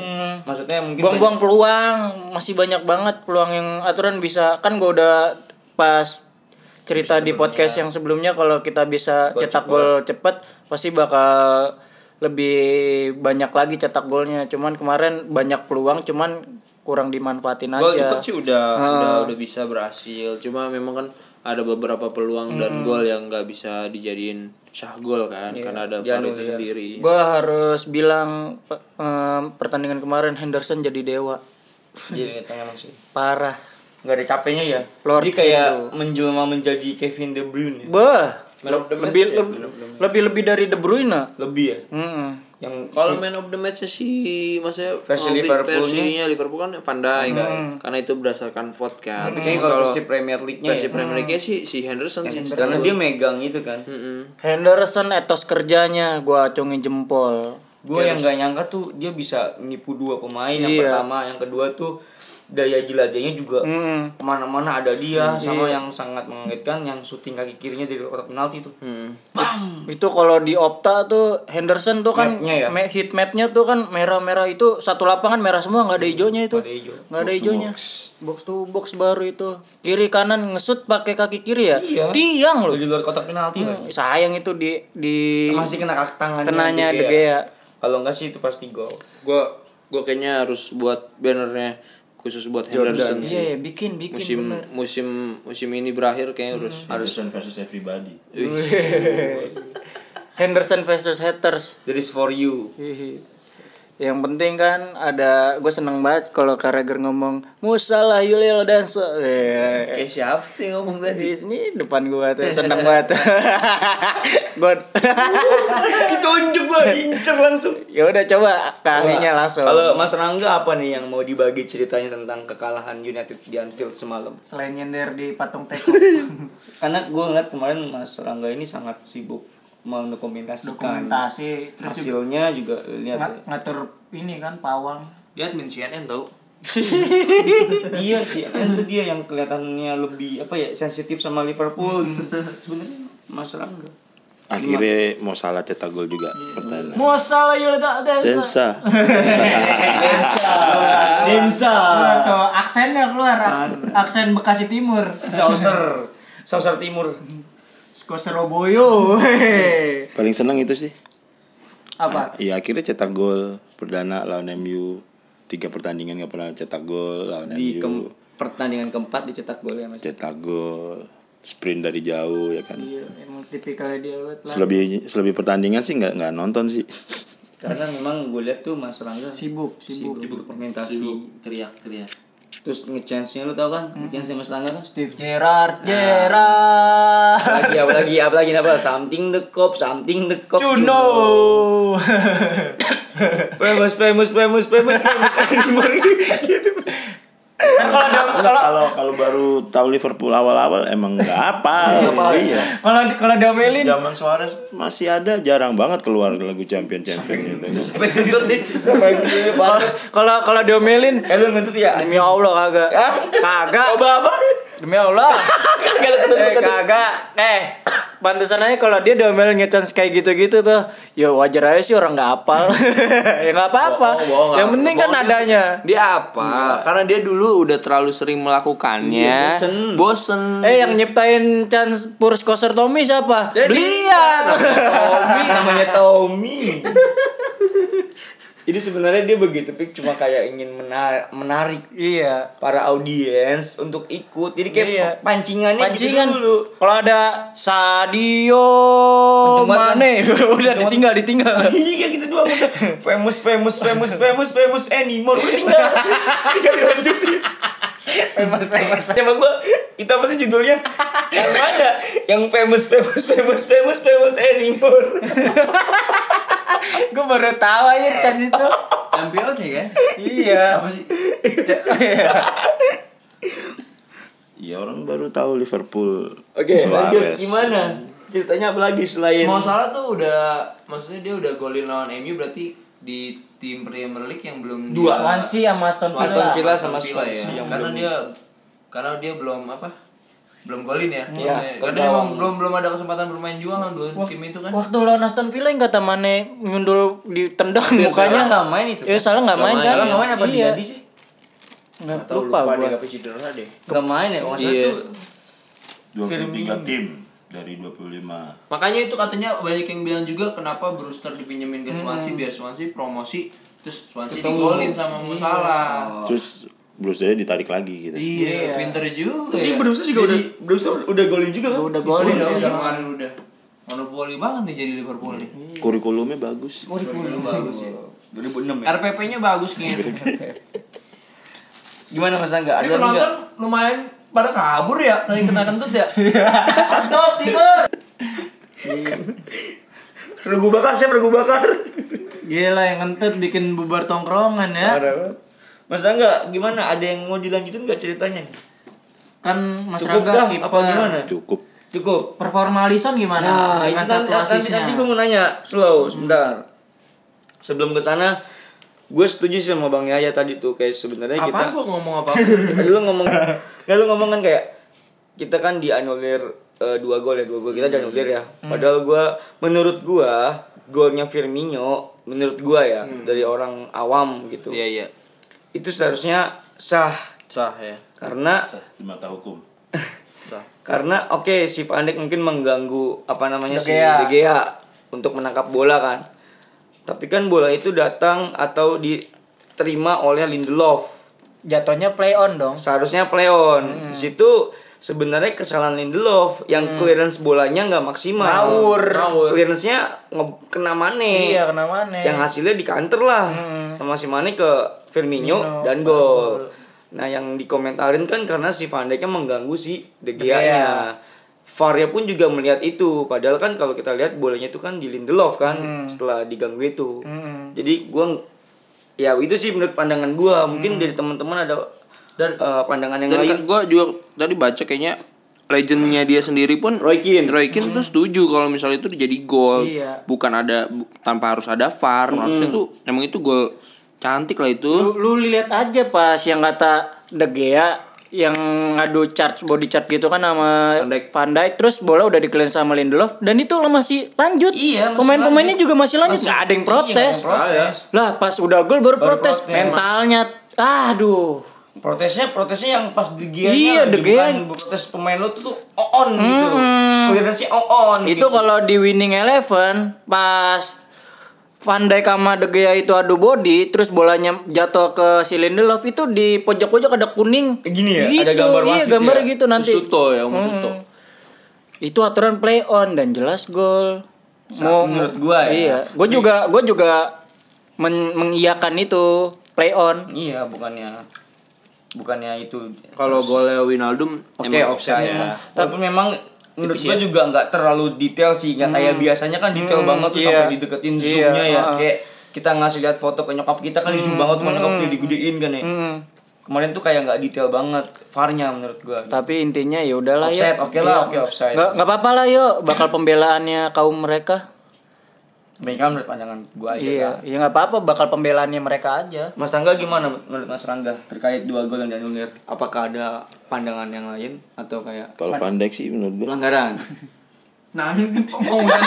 [SPEAKER 2] maksudnya mungkin
[SPEAKER 5] Gitu.
[SPEAKER 1] buang-buang peluang masih banyak banget peluang yang aturan bisa kan gue udah pas cerita di podcast yang sebelumnya kalau kita bisa cetak gol cepet pasti bakal lebih banyak lagi cetak golnya cuman kemarin banyak peluang cuman kurang dimanfaatin
[SPEAKER 5] Gol
[SPEAKER 1] aja
[SPEAKER 5] cepet sih udah, udah udah bisa berhasil. Cuma memang kan ada beberapa peluang dan gol yang nggak bisa dijadiin syah gol kan karena ada VAR itu sendiri.
[SPEAKER 1] gue harus bilang pe- em, pertandingan kemarin Henderson jadi dewa
[SPEAKER 2] banyak di lini tengah maksudnya
[SPEAKER 1] parah
[SPEAKER 2] nggak ada capeknya ya
[SPEAKER 1] Lord
[SPEAKER 2] dia kayak menjelma menjadi Kevin De Bruyne ya?
[SPEAKER 1] beh
[SPEAKER 5] Man of the match.
[SPEAKER 1] lebih lebih lebih dari De Bruyne
[SPEAKER 2] lebih ya
[SPEAKER 1] Mm-mm.
[SPEAKER 2] yang
[SPEAKER 5] Kalau man of the match sih maksudnya
[SPEAKER 2] Versi
[SPEAKER 5] oh,
[SPEAKER 2] Liverpool-nya.
[SPEAKER 5] versinya Liverpool kan Van Dijk kan. Karena itu berdasarkan vote kan.
[SPEAKER 2] Kayaknya kalau versi Premier League-nya
[SPEAKER 5] versi
[SPEAKER 2] ya.
[SPEAKER 5] Premier League sih si Henderson sih.
[SPEAKER 2] Karena dia megang itu kan.
[SPEAKER 1] Henderson etos kerjanya gua acungin jempol.
[SPEAKER 2] Gue yang nggak nyangka tuh dia bisa nipu dua pemain. Yang
[SPEAKER 1] Iya.
[SPEAKER 2] pertama, yang kedua tuh daya jelajahnya juga
[SPEAKER 1] Mm.
[SPEAKER 2] kemana-mana ada dia. Sama yang sangat mengagetkan yang syuting kaki kirinya dari kotak penalti tuh.
[SPEAKER 1] Itu kalau di Opta tuh Henderson tuh kan
[SPEAKER 2] Mapnya ya?
[SPEAKER 1] ma- heat mapnya tuh kan merah-merah itu satu lapangan merah semua nggak ada hijaunya itu.
[SPEAKER 2] Ada hijau.
[SPEAKER 1] Nggak ada hijaunya. Box to box baru itu. Kiri kanan ngesut pakai kaki kiri ya?
[SPEAKER 2] Iya.
[SPEAKER 1] Tiang loh.
[SPEAKER 2] Di luar kotak penalti kan.
[SPEAKER 1] Sayang itu di di
[SPEAKER 2] Masih kena kaki tangannya. gitu ya.
[SPEAKER 1] kenanya
[SPEAKER 2] De
[SPEAKER 1] De
[SPEAKER 2] Gea.
[SPEAKER 1] Gea.
[SPEAKER 2] Kalau enggak sih itu pasti gol.
[SPEAKER 5] Gua gua kayaknya harus buat bannernya khusus buat Henderson
[SPEAKER 1] Iya,
[SPEAKER 5] sih.
[SPEAKER 1] iya, bikin bikin
[SPEAKER 5] Musim
[SPEAKER 1] bener.
[SPEAKER 5] musim musim ini berakhir kayaknya harus
[SPEAKER 8] Harrison versus everybody.
[SPEAKER 1] Henderson versus haters.
[SPEAKER 2] That is for you.
[SPEAKER 1] Hihi. Yang penting kan ada gue seneng banget kalau Carragher ngomong musalah Yulil dan so.
[SPEAKER 5] Kayak siapa sih yang ngomong tadi?
[SPEAKER 1] Ini depan gue tuh seneng banget. gue
[SPEAKER 2] Ditunjuk gua incer langsung.
[SPEAKER 1] ya udah coba ke ahlinya langsung.
[SPEAKER 2] Kalau Mas Rangga apa nih yang mau dibagi ceritanya tentang kekalahan United di Anfield semalam?
[SPEAKER 1] Selain nyender di patung teko.
[SPEAKER 2] Karena gue ngeliat kemarin Mas Rangga ini sangat sibuk mendokumentasikan
[SPEAKER 1] Dokumentasi terus juga
[SPEAKER 2] hasilnya juga lihat ya.
[SPEAKER 1] ngat- ngatur ini kan pawang.
[SPEAKER 5] Dia admin CNN tau.
[SPEAKER 2] iya sih itu dia yang kelihatannya lebih apa ya sensitif sama Liverpool sebenarnya Mas Rangga
[SPEAKER 8] Akhirnya Eh, mau salah cetak gol juga pertandingan.
[SPEAKER 1] Musalah Yulil dan so.
[SPEAKER 8] Densa.
[SPEAKER 2] Densa
[SPEAKER 1] Tuh, aksennya keluar, ak- aksen Bekasi Timur.
[SPEAKER 2] Sauser Sauser Timur
[SPEAKER 1] Sko Seroboyo. hehehe.
[SPEAKER 8] Paling seneng itu sih.
[SPEAKER 1] Apa?
[SPEAKER 8] Iya akhirnya cetak gol perdana lawan MU. Tiga pertandingan gak pernah cetak gol lawan
[SPEAKER 2] di
[SPEAKER 8] MU.
[SPEAKER 2] kem- pertandingan keempat dicetak gol ya Mas
[SPEAKER 8] Cetak gol, sprint dari jauh ya kan.
[SPEAKER 1] Iya, emang tipikalnya dia buat lah.
[SPEAKER 8] Selebih selebih pertandingan sih nggak nggak nonton sih.
[SPEAKER 2] karena memang gue lihat tuh Mas Rangga
[SPEAKER 1] Sibuk, sibuk.
[SPEAKER 2] dokumentasi
[SPEAKER 5] Teriak teriak.
[SPEAKER 2] terus ngechance nya lu tau kan ngechance nya Mas Rangga kan
[SPEAKER 1] Steve Gerrard, Gerrard.
[SPEAKER 2] lagi apa lagi apa lagi apa something the cop something the cop
[SPEAKER 1] Juno.
[SPEAKER 2] famous famous famous famous famous anymore
[SPEAKER 1] Ntar kalau dia kalau
[SPEAKER 8] kalau kalau baru tahu Liverpool awal-awal emang nggak apa. iya.
[SPEAKER 1] kalau kalau diomelin
[SPEAKER 8] Zaman Suarez masih ada jarang banget keluar lagu champion champion gitu.
[SPEAKER 5] Apa yang kentut nih?
[SPEAKER 1] kalau kalau diomelin
[SPEAKER 2] eh
[SPEAKER 1] Eh,
[SPEAKER 2] lu ngentut ya
[SPEAKER 1] demi Allah kagak. Kagak.
[SPEAKER 2] apa
[SPEAKER 1] Demi Allah.
[SPEAKER 2] Kagak, lu ketut, lu
[SPEAKER 1] eh,
[SPEAKER 2] ketut.
[SPEAKER 1] kagak. Eh, pantesan aja kalau dia diomelin ngechance kayak gitu-gitu tuh. Ya wajar aja sih orang nggak apal. ya nggak
[SPEAKER 5] Bohong,
[SPEAKER 1] apa-apa.
[SPEAKER 5] bohong,
[SPEAKER 1] Yang
[SPEAKER 5] nggak
[SPEAKER 1] penting kan
[SPEAKER 5] bohong.
[SPEAKER 1] adanya.
[SPEAKER 5] Dia apa? Karena dia dulu udah terlalu sering melakukannya.
[SPEAKER 2] bosen.
[SPEAKER 5] bosen.
[SPEAKER 1] Eh yang nyiptain chance Purs Koser Tommy siapa? Belian.
[SPEAKER 2] Ya, Tommy namanya Tommy jadi sebenarnya dia begitu pik cuma kayak ingin menar- menarik
[SPEAKER 1] iya.
[SPEAKER 2] para audiens untuk ikut jadi kayak
[SPEAKER 1] Iya.
[SPEAKER 2] pancingannya
[SPEAKER 1] pancingan
[SPEAKER 2] gitu dulu
[SPEAKER 1] kalau ada Sadio
[SPEAKER 2] Jumat
[SPEAKER 1] Mane udah ditinggal ditinggal
[SPEAKER 2] Iya kayak gitu doang udah. Famous famous famous famous famous anymore Udah tinggal Tinggal dilanjutin Famous famous Emang gue Itu apa sih judulnya Yang mana Yang famous famous famous famous famous anymore
[SPEAKER 1] gue baru tahu aja kan itu
[SPEAKER 5] Champion ya kan?
[SPEAKER 1] iya apa sih
[SPEAKER 8] Iya orang baru tahu Liverpool
[SPEAKER 2] Oke lanjut
[SPEAKER 8] Suarez.
[SPEAKER 2] Gimana Ceritanya apa lagi selain
[SPEAKER 5] Mau salah tuh udah maksudnya dia udah golin lawan MU berarti di tim Premier League yang belum
[SPEAKER 1] dua
[SPEAKER 2] kan
[SPEAKER 5] dia-
[SPEAKER 1] Swansea sama Aston
[SPEAKER 2] Aston
[SPEAKER 1] Villa
[SPEAKER 2] Villa. sama
[SPEAKER 5] Aston Villa
[SPEAKER 2] Swansea yang
[SPEAKER 5] ya. karena
[SPEAKER 2] belum-
[SPEAKER 5] dia karena dia belum apa belum golin ya
[SPEAKER 2] Iya,
[SPEAKER 5] maksudnya. karena
[SPEAKER 2] tergawang.
[SPEAKER 5] emang belum belum ada kesempatan bermain juga lawan dua tim itu kan
[SPEAKER 1] waktu lawan Aston Villa yang kata Mane nyundul ditendang mukanya
[SPEAKER 2] nggak main itu
[SPEAKER 1] ya salah nggak main
[SPEAKER 5] main.
[SPEAKER 1] kan
[SPEAKER 2] Salah nggak main apa
[SPEAKER 1] iya.
[SPEAKER 2] diganti sih
[SPEAKER 1] nggak lupa gue
[SPEAKER 5] apa cedera deh
[SPEAKER 2] Gak main ya Kalau nggak salah
[SPEAKER 5] Iya.
[SPEAKER 2] tuh
[SPEAKER 8] 23 tim dari 25.
[SPEAKER 5] makanya itu katanya banyak yang bilang juga kenapa Brewster dipinjemin ke
[SPEAKER 2] Hmm.
[SPEAKER 5] Swansea biar Swansea promosi terus Swansea digolin sama
[SPEAKER 2] Iya.
[SPEAKER 5] Musala
[SPEAKER 8] Terus Bruce Lee ditarik lagi gitu.
[SPEAKER 5] iya pinter juga ya.
[SPEAKER 2] Ini Brewster juga udah
[SPEAKER 5] Jadi-
[SPEAKER 2] Brewster udah golin juga kan
[SPEAKER 1] udah
[SPEAKER 2] Di
[SPEAKER 1] golin.
[SPEAKER 5] udah
[SPEAKER 2] Swansea.
[SPEAKER 5] udah kemarin udah monopoli banget nih jadi Liverpool nih
[SPEAKER 8] Kurikulumnya bagus.
[SPEAKER 5] Kurikulum bagus ya
[SPEAKER 2] 2006 ya
[SPEAKER 5] RPP-nya bagus kayaknya
[SPEAKER 2] Gimana Mas Angga
[SPEAKER 5] Ini
[SPEAKER 2] Ada nggak
[SPEAKER 5] penonton lumayan pada kabur ya tadi kena kentut ya. Kentut tidur.
[SPEAKER 2] Regu bakar siap regu bakar
[SPEAKER 1] gila yang ngentut bikin bubar tongkrongan ya
[SPEAKER 2] Mas Angga, gimana? Ada yang mau dilanjutin nggak ceritanya?
[SPEAKER 1] kan Mas
[SPEAKER 2] Cukup
[SPEAKER 1] Rangga
[SPEAKER 2] dah, apa gimana?
[SPEAKER 1] kiper
[SPEAKER 8] Cukup.
[SPEAKER 2] Cukup.
[SPEAKER 1] performa Alisson gimana
[SPEAKER 2] Nah, itu kan
[SPEAKER 1] dengan satu
[SPEAKER 2] tadi,
[SPEAKER 1] asisnya
[SPEAKER 2] tadi gue mau nanya, slow, sebentar. Sebelum ke sana, gue setuju sih sama Bang Yaya tadi tuh kayak sebenarnya
[SPEAKER 5] Apa
[SPEAKER 2] kita
[SPEAKER 5] gua ngomong apa?
[SPEAKER 2] lu ngomong nggak lu ngomong kan kayak kita kan dianulir eh, dua gol ya dua gol kita dianulir ya
[SPEAKER 5] Hmm.
[SPEAKER 2] padahal gua menurut gua golnya Firmino menurut gua ya dari orang awam gitu
[SPEAKER 5] Hmm. Iya iya.
[SPEAKER 2] itu seharusnya sah
[SPEAKER 5] Sah ya.
[SPEAKER 2] karena
[SPEAKER 8] Di mata hukum.
[SPEAKER 5] Sah.
[SPEAKER 2] karena oke si Van Dijk mungkin mengganggu apa namanya
[SPEAKER 1] De Gea.
[SPEAKER 2] si De Gea untuk menangkap bola kan tapi kan bola itu datang atau diterima oleh Lindelof
[SPEAKER 1] jatuhnya play on dong.
[SPEAKER 2] Seharusnya play on.
[SPEAKER 1] Hmm.
[SPEAKER 2] Di situ sebenarnya kesalahan Lindelof yang clearance bolanya nggak maksimal.
[SPEAKER 1] Ngawur.
[SPEAKER 2] Ngawur. Clearance-nya nge- kena Mane.
[SPEAKER 1] Iya, kena Mane.
[SPEAKER 2] Yang hasilnya di counter lah.
[SPEAKER 1] Hmm.
[SPEAKER 2] Sama si Mane ke Firmino dan gol. Nah, yang dikomentarin kan karena si Van Dijk-nya mengganggu si De Gea-nya. VAR-nya pun juga melihat itu. Padahal kan kalau kita lihat bolanya itu kan di Lindelof kan
[SPEAKER 1] Hmm.
[SPEAKER 2] setelah diganggu itu. Jadi gua ya itu sih menurut pandangan gua
[SPEAKER 1] Hmm.
[SPEAKER 2] mungkin dari teman-teman ada
[SPEAKER 5] Dan-
[SPEAKER 2] eh, pandangan yang lain
[SPEAKER 5] Dan gue juga tadi baca kayaknya legendnya dia sendiri pun
[SPEAKER 2] Roy Keane.
[SPEAKER 5] Roy Keane tuh setuju kalau misalnya itu jadi gol
[SPEAKER 1] Iya.
[SPEAKER 5] bukan ada bu- tanpa harus ada VAR
[SPEAKER 2] Hmm.
[SPEAKER 5] harusnya tuh emang itu gol cantik lah itu
[SPEAKER 1] Lu, lu lihat aja pas yang kata De Gea yang ngadu charge body charge gitu kan sama
[SPEAKER 5] Van Dijk.
[SPEAKER 1] Pandai terus bola udah dikelen sama Lindelof dan itu lo masih lanjut
[SPEAKER 2] Iya, masih
[SPEAKER 1] pemain-pemainnya juga masih lanjut Iya, nggak ada yang protes Ah, lah pas udah gol baru, protes.
[SPEAKER 2] protes.
[SPEAKER 1] mentalnya aduh
[SPEAKER 2] protesnya protesnya yang pas De Gea
[SPEAKER 1] Iya, De Gea. Hmm.
[SPEAKER 2] protes pemain lo tuh on gitu clearance-nya on
[SPEAKER 1] itu kalau di winning eleven pas Van Dijk sama De Gea itu adu body terus bolanya jatuh ke si Lindelof itu di pojok-pojok ada kuning
[SPEAKER 2] Gini ya?
[SPEAKER 1] gitu,
[SPEAKER 2] Ada gambar
[SPEAKER 1] iya,
[SPEAKER 2] wasit
[SPEAKER 1] gambar
[SPEAKER 2] ya?
[SPEAKER 1] gitu nanti
[SPEAKER 5] Suto ya Om Suto
[SPEAKER 1] itu aturan play on dan jelas gol
[SPEAKER 2] Sa- menurut gua ya.
[SPEAKER 1] iya gue juga gue juga men- mengiyakan itu play on
[SPEAKER 2] iya bukannya bukannya itu
[SPEAKER 5] kalau golnya Winaldum
[SPEAKER 2] oke offside ya tapi memang menurut gue juga nggak terlalu detail sih nggak kayak biasanya kan detail banget tuh
[SPEAKER 1] Hmm. iya.
[SPEAKER 2] sampai dideketin zoomnya ya
[SPEAKER 1] ah.
[SPEAKER 2] kayak kita ngasih lihat foto ke nyokap kita kan di zoom
[SPEAKER 1] Hmm.
[SPEAKER 2] banget sama nyokap dia digedein kan ya kemarin tuh kayak nggak detail banget farnya menurut gue
[SPEAKER 1] tapi intinya ya udahlah ya
[SPEAKER 2] offside oke lah oke offside
[SPEAKER 1] nggak nggak apa-apa lah yuk bakal pembelaannya kaum mereka
[SPEAKER 2] mereka menurut pandangan gue aja
[SPEAKER 1] iya
[SPEAKER 2] kan.
[SPEAKER 1] ya nggak apa-apa bakal pembelaannya mereka aja
[SPEAKER 2] Mas Rangga gimana menurut Mas Rangga terkait dua gol yang dianulir? Apakah ada pandangan yang lain atau kayak
[SPEAKER 8] Kalau Van Dijk sih menurut gue
[SPEAKER 2] pelanggaran?
[SPEAKER 9] Nah, mau hujan.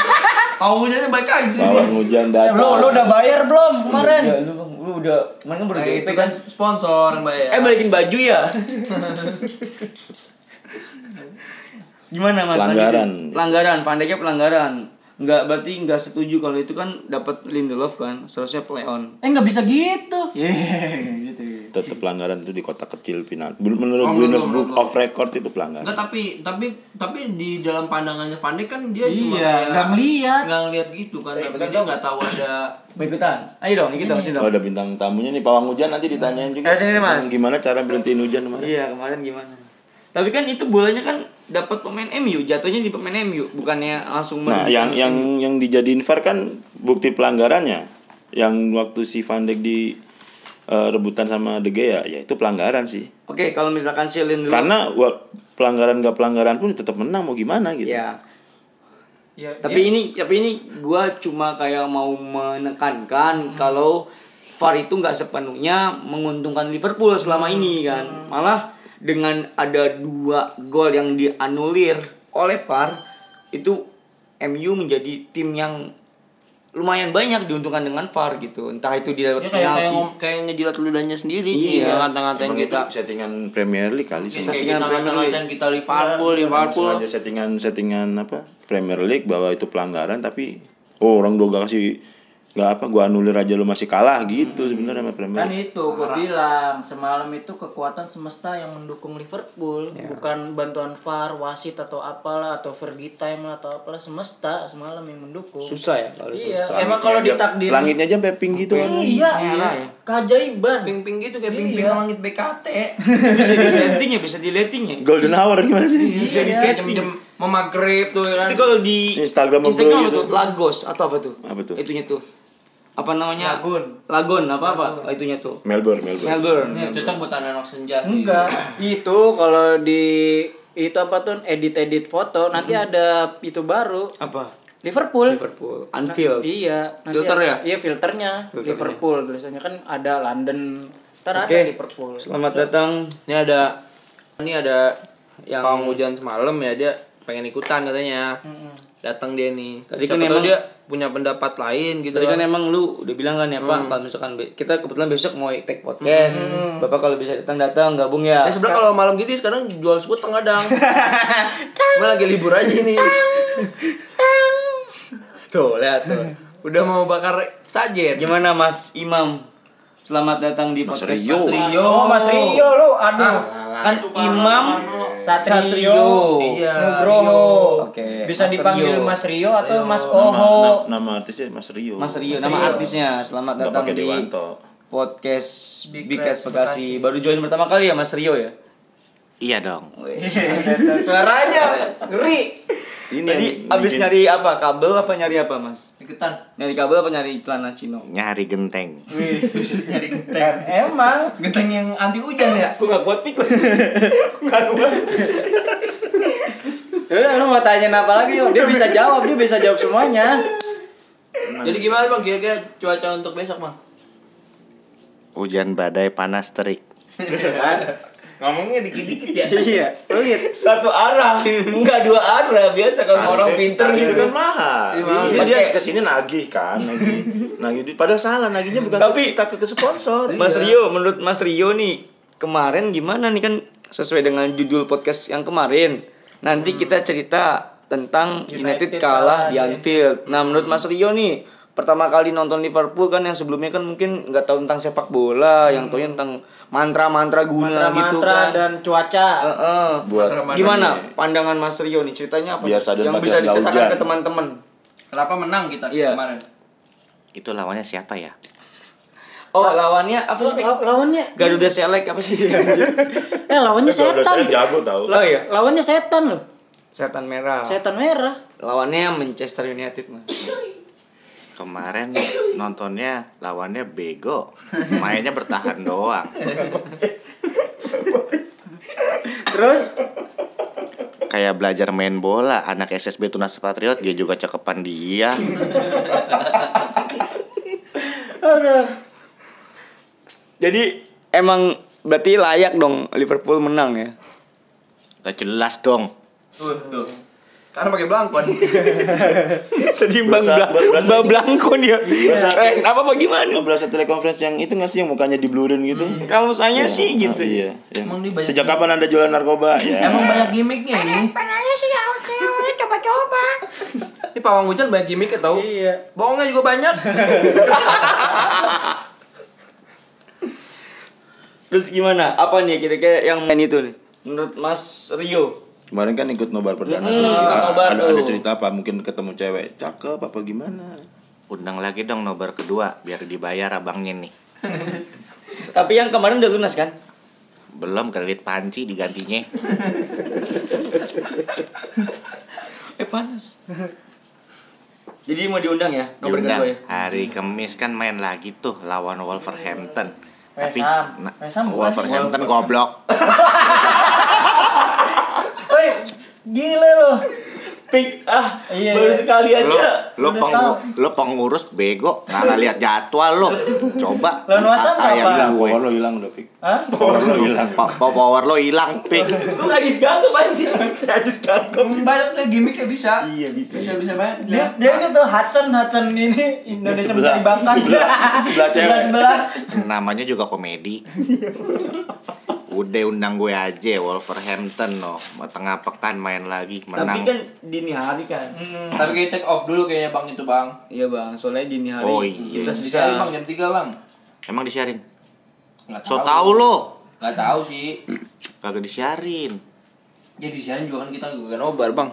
[SPEAKER 9] Mau hujannya baik aja
[SPEAKER 2] kan
[SPEAKER 9] sih.
[SPEAKER 8] lawan hujan datang.
[SPEAKER 1] lo lo udah bayar belum kemarin
[SPEAKER 2] Ya, lu, Bang, lu udah kemarin kan baru
[SPEAKER 9] Nah,
[SPEAKER 2] DP
[SPEAKER 9] itu kan sponsor yang bayar.
[SPEAKER 2] Eh balikin baju ya. Gimana Mas?
[SPEAKER 8] Pelanggaran.
[SPEAKER 2] Lanjutin. Pelanggaran, pandainya pelanggaran. Enggak berarti enggak setuju kalau itu kan dapat Lindelof kan, seharusnya play on.
[SPEAKER 1] eh nggak bisa gitu
[SPEAKER 8] tetap pelanggaran itu di kota kecil penalti. Menurut gue menurut book of record itu pelanggaran.
[SPEAKER 9] Enggak tapi tapi tapi di dalam pandangannya Van Dijk kan dia cuma
[SPEAKER 1] iya nggak ngeliat
[SPEAKER 9] nggak ngeliat gitu kan tapi dia nggak tahu ada
[SPEAKER 2] Mau ikutan? Ayo dong, ikut dong, sini
[SPEAKER 8] Kalau
[SPEAKER 2] dong.
[SPEAKER 8] ada bintang tamunya nih pawang hujan nanti ditanyain juga.
[SPEAKER 2] Eh, sini, Mas.
[SPEAKER 8] Gimana cara berhentiin hujan kemarin?
[SPEAKER 2] Iya, kemarin gimana? Tapi kan itu bolanya kan dapat pemain MU, jatuhnya di pemain MU, bukannya langsung
[SPEAKER 8] Nah,
[SPEAKER 2] menuju.
[SPEAKER 8] yang yang yang dijadiin VAR kan bukti pelanggarannya. Yang waktu si Van Dijk di eh, rebutan sama De Gea ya itu pelanggaran sih.
[SPEAKER 2] Oke, kalau misalkan si Lindelof
[SPEAKER 8] Karena wa- pelanggaran gak pelanggaran pun tetap menang mau gimana gitu.
[SPEAKER 2] ya.
[SPEAKER 5] Ya,
[SPEAKER 2] tapi ini tapi ini gua cuma kayak mau menekankan
[SPEAKER 5] Hmm.
[SPEAKER 2] kalau VAR itu nggak sepenuhnya menguntungkan Liverpool selama
[SPEAKER 5] Hmm.
[SPEAKER 2] ini kan. Malah dengan ada dua gol yang dianulir oleh VAR itu MU menjadi tim yang lumayan banyak diuntungkan dengan VAR gitu. Entah itu di
[SPEAKER 5] ya kayak kayak, ngom- kayak ngejilat ludahnya sendiri
[SPEAKER 2] Iya.
[SPEAKER 5] iya. ngata-ngatain
[SPEAKER 8] Emang
[SPEAKER 5] kita
[SPEAKER 8] itu settingan Premier League kali sih.
[SPEAKER 5] kayak
[SPEAKER 2] Settingan
[SPEAKER 5] kita
[SPEAKER 2] Premier League.
[SPEAKER 5] ngata-ngatain kita Liverpool
[SPEAKER 8] Iya,
[SPEAKER 5] Liverpool
[SPEAKER 8] Sengaja settingan-settingan apa Premier League bahwa itu pelanggaran tapi oh, orang gua gak kasih nggak apa gua anulir aja lu masih kalah gitu sebenarnya sama Premier
[SPEAKER 1] kan
[SPEAKER 8] League.
[SPEAKER 1] itu gue bilang semalam itu kekuatan semesta yang mendukung Liverpool bukan bantuan VAR wasit atau apalah atau Fergie time lah atau apalah semesta semalam yang mendukung
[SPEAKER 2] susah ya kalau
[SPEAKER 1] iya emang kalau ditakdir
[SPEAKER 8] Langitnya aja sampai pink gitu kan.
[SPEAKER 1] iya
[SPEAKER 2] Merah ya.
[SPEAKER 1] keajaiban Iya.
[SPEAKER 9] ping-ping gitu kayak ping-ping langit BKT
[SPEAKER 2] bisa di setting ya, bisa di letting ya.
[SPEAKER 8] Golden hour gimana sih?
[SPEAKER 1] Iya.
[SPEAKER 9] bisa di setting jam mama grip tuh ya kan
[SPEAKER 5] Iya.
[SPEAKER 2] Itu kalau di
[SPEAKER 8] Instagram apa
[SPEAKER 2] Instagram apa
[SPEAKER 8] gitu.
[SPEAKER 2] tuh? Lagos atau apa tuh?
[SPEAKER 8] Apa tuh?
[SPEAKER 2] Itunya tuh. Apa namanya? Lagun. Lagun apa apa? Oh, itunya tuh.
[SPEAKER 8] Melbourne, Melbourne.
[SPEAKER 2] Melbourne.
[SPEAKER 9] Ini Iya, cocok buat anak-anak senja sih.
[SPEAKER 1] enggak itu kalau di itu apa tuh edit edit foto nanti ada itu baru
[SPEAKER 2] Apa? Nah,
[SPEAKER 1] Liverpool
[SPEAKER 2] Liverpool. Anfield.
[SPEAKER 1] iya nanti
[SPEAKER 9] Filter
[SPEAKER 1] ada-
[SPEAKER 9] ya?
[SPEAKER 1] iya filternya, Liverpool tulisannya kan ada London ntar ada
[SPEAKER 2] Oke.
[SPEAKER 1] Liverpool
[SPEAKER 2] Selamat datang
[SPEAKER 5] ini ada ini ada
[SPEAKER 2] Yang-
[SPEAKER 5] yang hujan semalam ya dia pengen ikutan katanya datang dia nih
[SPEAKER 2] Tadi
[SPEAKER 5] Siapa
[SPEAKER 2] kan
[SPEAKER 5] tahu
[SPEAKER 2] emang-
[SPEAKER 5] dia punya pendapat lain gitu
[SPEAKER 2] Tadi kan
[SPEAKER 5] kan.
[SPEAKER 2] emang lu udah bilang kan ya Pak, kalau misalkan be- kita kebetulan besok mau take podcast, bapak kalau bisa datang datang gabung ya.
[SPEAKER 9] Eh,
[SPEAKER 5] Ya sebenernya kalau malam gini sekarang jual skuteng kadang Gue lagi libur aja ini Tuh lihat tuh Udah mau bakar sajen
[SPEAKER 2] Gimana Mas Imam? Selamat datang di podcast
[SPEAKER 8] Rio.
[SPEAKER 2] Mas Rio.
[SPEAKER 9] Rio.
[SPEAKER 2] Oh, Mas Rio lu aduh.
[SPEAKER 9] Salah.
[SPEAKER 2] Kan Imam Satrio,
[SPEAKER 1] Satrio.
[SPEAKER 9] Iya,
[SPEAKER 2] Nugroho.
[SPEAKER 9] Rio.
[SPEAKER 2] Oke. Bisa
[SPEAKER 9] Mas
[SPEAKER 2] dipanggil
[SPEAKER 9] Rio.
[SPEAKER 2] Mas Rio atau Mas
[SPEAKER 8] Nama,
[SPEAKER 2] Oho.
[SPEAKER 8] na- nama artisnya Mas
[SPEAKER 2] Oh.
[SPEAKER 8] Rio.
[SPEAKER 2] Mas Rio nama artisnya. Selamat
[SPEAKER 8] Nggak
[SPEAKER 2] datang
[SPEAKER 8] pakai
[SPEAKER 2] di
[SPEAKER 8] Dewanto.
[SPEAKER 2] podcast
[SPEAKER 9] Big
[SPEAKER 2] Big
[SPEAKER 9] Reds
[SPEAKER 2] Reds Bekasi. Baru join pertama kali ya Mas Rio ya?
[SPEAKER 10] Iya dong.
[SPEAKER 2] Suaranya ngeri.
[SPEAKER 8] Ini
[SPEAKER 2] Tadi
[SPEAKER 8] yang
[SPEAKER 2] abis
[SPEAKER 8] bikin-
[SPEAKER 2] nyari apa? Kabel apa nyari apa, Mas?
[SPEAKER 9] Iketan.
[SPEAKER 2] Nyari kabel apa nyari celana cino?
[SPEAKER 10] Nyari genteng.
[SPEAKER 9] Nyari genteng.
[SPEAKER 2] Emang
[SPEAKER 9] Genteng yang anti hujan ya?
[SPEAKER 2] Gue gak kuat pik Gak kuat
[SPEAKER 1] Yaudah Ya lu mau tanyain apa lagi yuk? Dia bisa jawab, dia bisa jawab semuanya.
[SPEAKER 9] Jadi gimana bang kira-kira cuaca untuk besok bang?
[SPEAKER 10] Hujan badai panas terik.
[SPEAKER 9] Ngomongnya dikit-dikit ya.
[SPEAKER 1] Iya. Pelit.
[SPEAKER 2] Satu arah Enggak dua arah Biasa kalau orang pinter
[SPEAKER 8] Tarif
[SPEAKER 2] gitu
[SPEAKER 8] kan mahal.
[SPEAKER 9] Iya, mahal.
[SPEAKER 8] Ini dia
[SPEAKER 2] Pakai-
[SPEAKER 8] kesini nagih kan, nagih. nagih duit. Padahal salah, nagihnya bukan
[SPEAKER 2] Tapi-
[SPEAKER 8] ke kita ke, ke sponsor.
[SPEAKER 2] Mas Rio menurut Mas Rio nih Kemarin gimana nih kan Sesuai dengan judul podcast yang kemarin Nanti kita cerita tentang United,
[SPEAKER 1] United
[SPEAKER 2] kalah
[SPEAKER 1] kalah
[SPEAKER 2] di
[SPEAKER 1] di-
[SPEAKER 2] Anfield Nah menurut Mas Rio nih Pertama kali nonton Liverpool kan yang sebelumnya kan mungkin nggak tahu tentang sepak bola, yang taunya tentang mantra-mantra guna gitu
[SPEAKER 1] Mantra-mantra
[SPEAKER 2] kan.
[SPEAKER 1] dan cuaca.
[SPEAKER 2] Heeh.
[SPEAKER 8] Buat
[SPEAKER 2] Gimana pandangan Mas Rio nih ceritanya apa?
[SPEAKER 8] Biar sadar
[SPEAKER 2] yang
[SPEAKER 8] pakai
[SPEAKER 2] bisa
[SPEAKER 8] nggak
[SPEAKER 2] diceritakan
[SPEAKER 8] hujan.
[SPEAKER 2] ke teman-teman.
[SPEAKER 9] Kenapa menang kita
[SPEAKER 2] Iya.
[SPEAKER 9] kemarin?
[SPEAKER 10] Itu lawannya siapa ya?
[SPEAKER 2] Oh, lawannya apa sih?
[SPEAKER 1] Law- lawannya
[SPEAKER 2] Garuda Selek apa sih?
[SPEAKER 1] eh lawannya setan.
[SPEAKER 8] Saya jago tau.
[SPEAKER 2] Lah ya,
[SPEAKER 1] Lawannya setan loh.
[SPEAKER 2] setan merah.
[SPEAKER 1] Setan merah.
[SPEAKER 2] Lawannya Manchester United, Mas.
[SPEAKER 10] Kemarin nontonnya lawannya bego. Mainnya bertahan doang.
[SPEAKER 1] Terus
[SPEAKER 10] Kayak belajar main bola, anak SSB Tunas Patriot dia juga cakepan dia.
[SPEAKER 2] Jadi emang berarti layak dong Liverpool menang ya.
[SPEAKER 10] Gak jelas dong.
[SPEAKER 9] Tuh, tuh. Karena pakai belangkon.
[SPEAKER 2] Tadi Bang
[SPEAKER 8] Berasa-
[SPEAKER 2] Bla-
[SPEAKER 8] berasa-
[SPEAKER 2] Bang Blanco dia.
[SPEAKER 8] Berasa-
[SPEAKER 2] Eh, apa bagaimana?
[SPEAKER 8] Nggak berasa telekonferensi yang itu nggak sih yang mukanya diblurin gitu?
[SPEAKER 2] Kalau saya
[SPEAKER 8] Iya,
[SPEAKER 2] sih
[SPEAKER 8] ah,
[SPEAKER 2] gitu.
[SPEAKER 8] Iya. iya.
[SPEAKER 9] Emang dia banyak-
[SPEAKER 8] Sejak kapan anda jualan narkoba? Ya.
[SPEAKER 9] Emang banyak gimmicknya ini.
[SPEAKER 11] Penanya sih ya, oke, oke, coba-coba.
[SPEAKER 9] Ini pawang hujan banyak gimmicknya tau.
[SPEAKER 1] iya.
[SPEAKER 9] Bohongnya juga banyak.
[SPEAKER 2] Terus gimana? Apa nih kira-kira yang main itu nih? Menurut Mas Rio?
[SPEAKER 8] Kemarin kan ikut nobar perdana.
[SPEAKER 2] Mm,
[SPEAKER 8] tuh.
[SPEAKER 2] ikut
[SPEAKER 8] Ah,
[SPEAKER 2] nobar
[SPEAKER 8] ada,
[SPEAKER 2] tuh.
[SPEAKER 8] ada cerita apa? Mungkin ketemu cewek cakep apa gimana?
[SPEAKER 10] Undang lagi dong nobar kedua biar dibayar abangnya nih.
[SPEAKER 2] Tapi yang kemarin udah lunas kan?
[SPEAKER 10] Belum kredit panci digantinya.
[SPEAKER 2] Eh panas. Jadi mau diundang ya? Nomor kedua ya?
[SPEAKER 10] Diundang. Hari Kamis kan main lagi tuh lawan Wolverhampton. Tapi
[SPEAKER 1] Ham.
[SPEAKER 10] nah,
[SPEAKER 1] West Ham bukan sih?
[SPEAKER 10] Wolverhampton goblok.
[SPEAKER 1] Woi, gila loh.
[SPEAKER 2] Pik ah
[SPEAKER 1] Iya,
[SPEAKER 2] baru
[SPEAKER 1] iya.
[SPEAKER 2] sekali
[SPEAKER 10] Lo
[SPEAKER 2] aja.
[SPEAKER 10] lo pengu- lo pengurus bego nggak lihat jadwal lo. Coba.
[SPEAKER 1] Lawan West Ham
[SPEAKER 10] Ah, yang
[SPEAKER 1] apa?
[SPEAKER 10] bilang gue.
[SPEAKER 8] Power lo hilang udah pik.
[SPEAKER 1] Hah?
[SPEAKER 8] Power lo hilang.
[SPEAKER 10] Pa- pa- Power lo hilang pik.
[SPEAKER 2] Lu habis ganggu anjing. Habis ganggu.
[SPEAKER 9] banyak tuh gimmicknya bisa.
[SPEAKER 2] Iya, bisa.
[SPEAKER 9] Bisa bisa banyak.
[SPEAKER 1] Dia, dia ini tuh Hudson Hudson ini Indonesia
[SPEAKER 8] Di sebelah.
[SPEAKER 1] mencari bakat.
[SPEAKER 8] Di sebelah. Di sebelah cewek.
[SPEAKER 1] sebelah, sebelah.
[SPEAKER 10] Namanya juga komedi. Udah undang gue aja Wolverhampton no. Tengah pekan main lagi
[SPEAKER 2] Tapi
[SPEAKER 10] menang.
[SPEAKER 2] kan dini hari kan.
[SPEAKER 1] Hmm.
[SPEAKER 9] Tapi kita take off dulu kayaknya bang itu bang.
[SPEAKER 2] Iya bang, soalnya dini hari
[SPEAKER 10] Oh, iya.
[SPEAKER 2] kita
[SPEAKER 9] Bisa
[SPEAKER 2] bisa
[SPEAKER 9] bang jam 3 bang.
[SPEAKER 10] Emang disiarin?
[SPEAKER 9] Nggak
[SPEAKER 10] So tau lo.
[SPEAKER 9] Nggak tahu sih.
[SPEAKER 10] Kagak disiarin.
[SPEAKER 9] Jadi siaran juga kan kita juga nobar bang.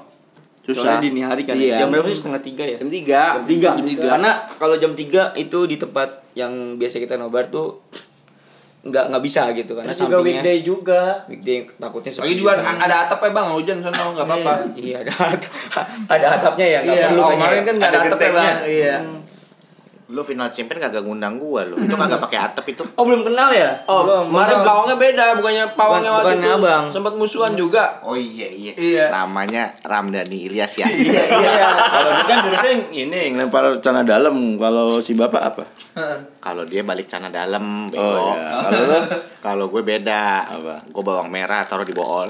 [SPEAKER 2] soalnya
[SPEAKER 5] Susah.
[SPEAKER 2] dini hari kan.
[SPEAKER 9] ya.
[SPEAKER 5] Iya.
[SPEAKER 2] Jam berapa sih? Setengah tiga ya.
[SPEAKER 5] Jam tiga.
[SPEAKER 2] Jam tiga.
[SPEAKER 5] Jam tiga.
[SPEAKER 2] Karena kalau jam tiga itu di tempat yang biasa kita nobar tuh nggak nggak bisa gitu karena
[SPEAKER 1] Terus juga
[SPEAKER 2] sampingnya-
[SPEAKER 1] weekday juga.
[SPEAKER 2] weekday takutnya
[SPEAKER 9] Lagi
[SPEAKER 2] sepi
[SPEAKER 9] juga ada, ada atap ya bang, hujan sana nggak apa-apa.
[SPEAKER 2] iya ada atap- ada atapnya ya nggak
[SPEAKER 9] Iya,
[SPEAKER 2] perlu
[SPEAKER 9] oh,
[SPEAKER 2] kayaknya
[SPEAKER 9] kemarin
[SPEAKER 2] ya.
[SPEAKER 9] kan nggak ada atap ya bang. Iya.
[SPEAKER 10] Lo final champion kagak ngundang gue lo. Itu kagak pakai atap itu.
[SPEAKER 2] oh belum kenal ya
[SPEAKER 9] Oh,
[SPEAKER 2] belum
[SPEAKER 9] kemarin
[SPEAKER 2] belum.
[SPEAKER 9] pawangnya beda, bukannya pawangnya
[SPEAKER 2] Bukan-
[SPEAKER 9] waktu
[SPEAKER 2] bukannya
[SPEAKER 9] itu
[SPEAKER 2] abang.
[SPEAKER 9] sempat musuhan juga.
[SPEAKER 10] Oh iya iya.
[SPEAKER 9] Iya.
[SPEAKER 10] Namanya Ramdhani Ilyas ya.
[SPEAKER 8] Kalau dia kan jurusnya yang ini yang lempar celana dalam. Kalau si bapak apa?
[SPEAKER 10] Kalau dia balik sana dalam, bego.
[SPEAKER 8] Oh, iya. Kalau lo
[SPEAKER 10] Kalau gue beda.
[SPEAKER 8] Apa?
[SPEAKER 10] Gue bawang merah taruh di bool.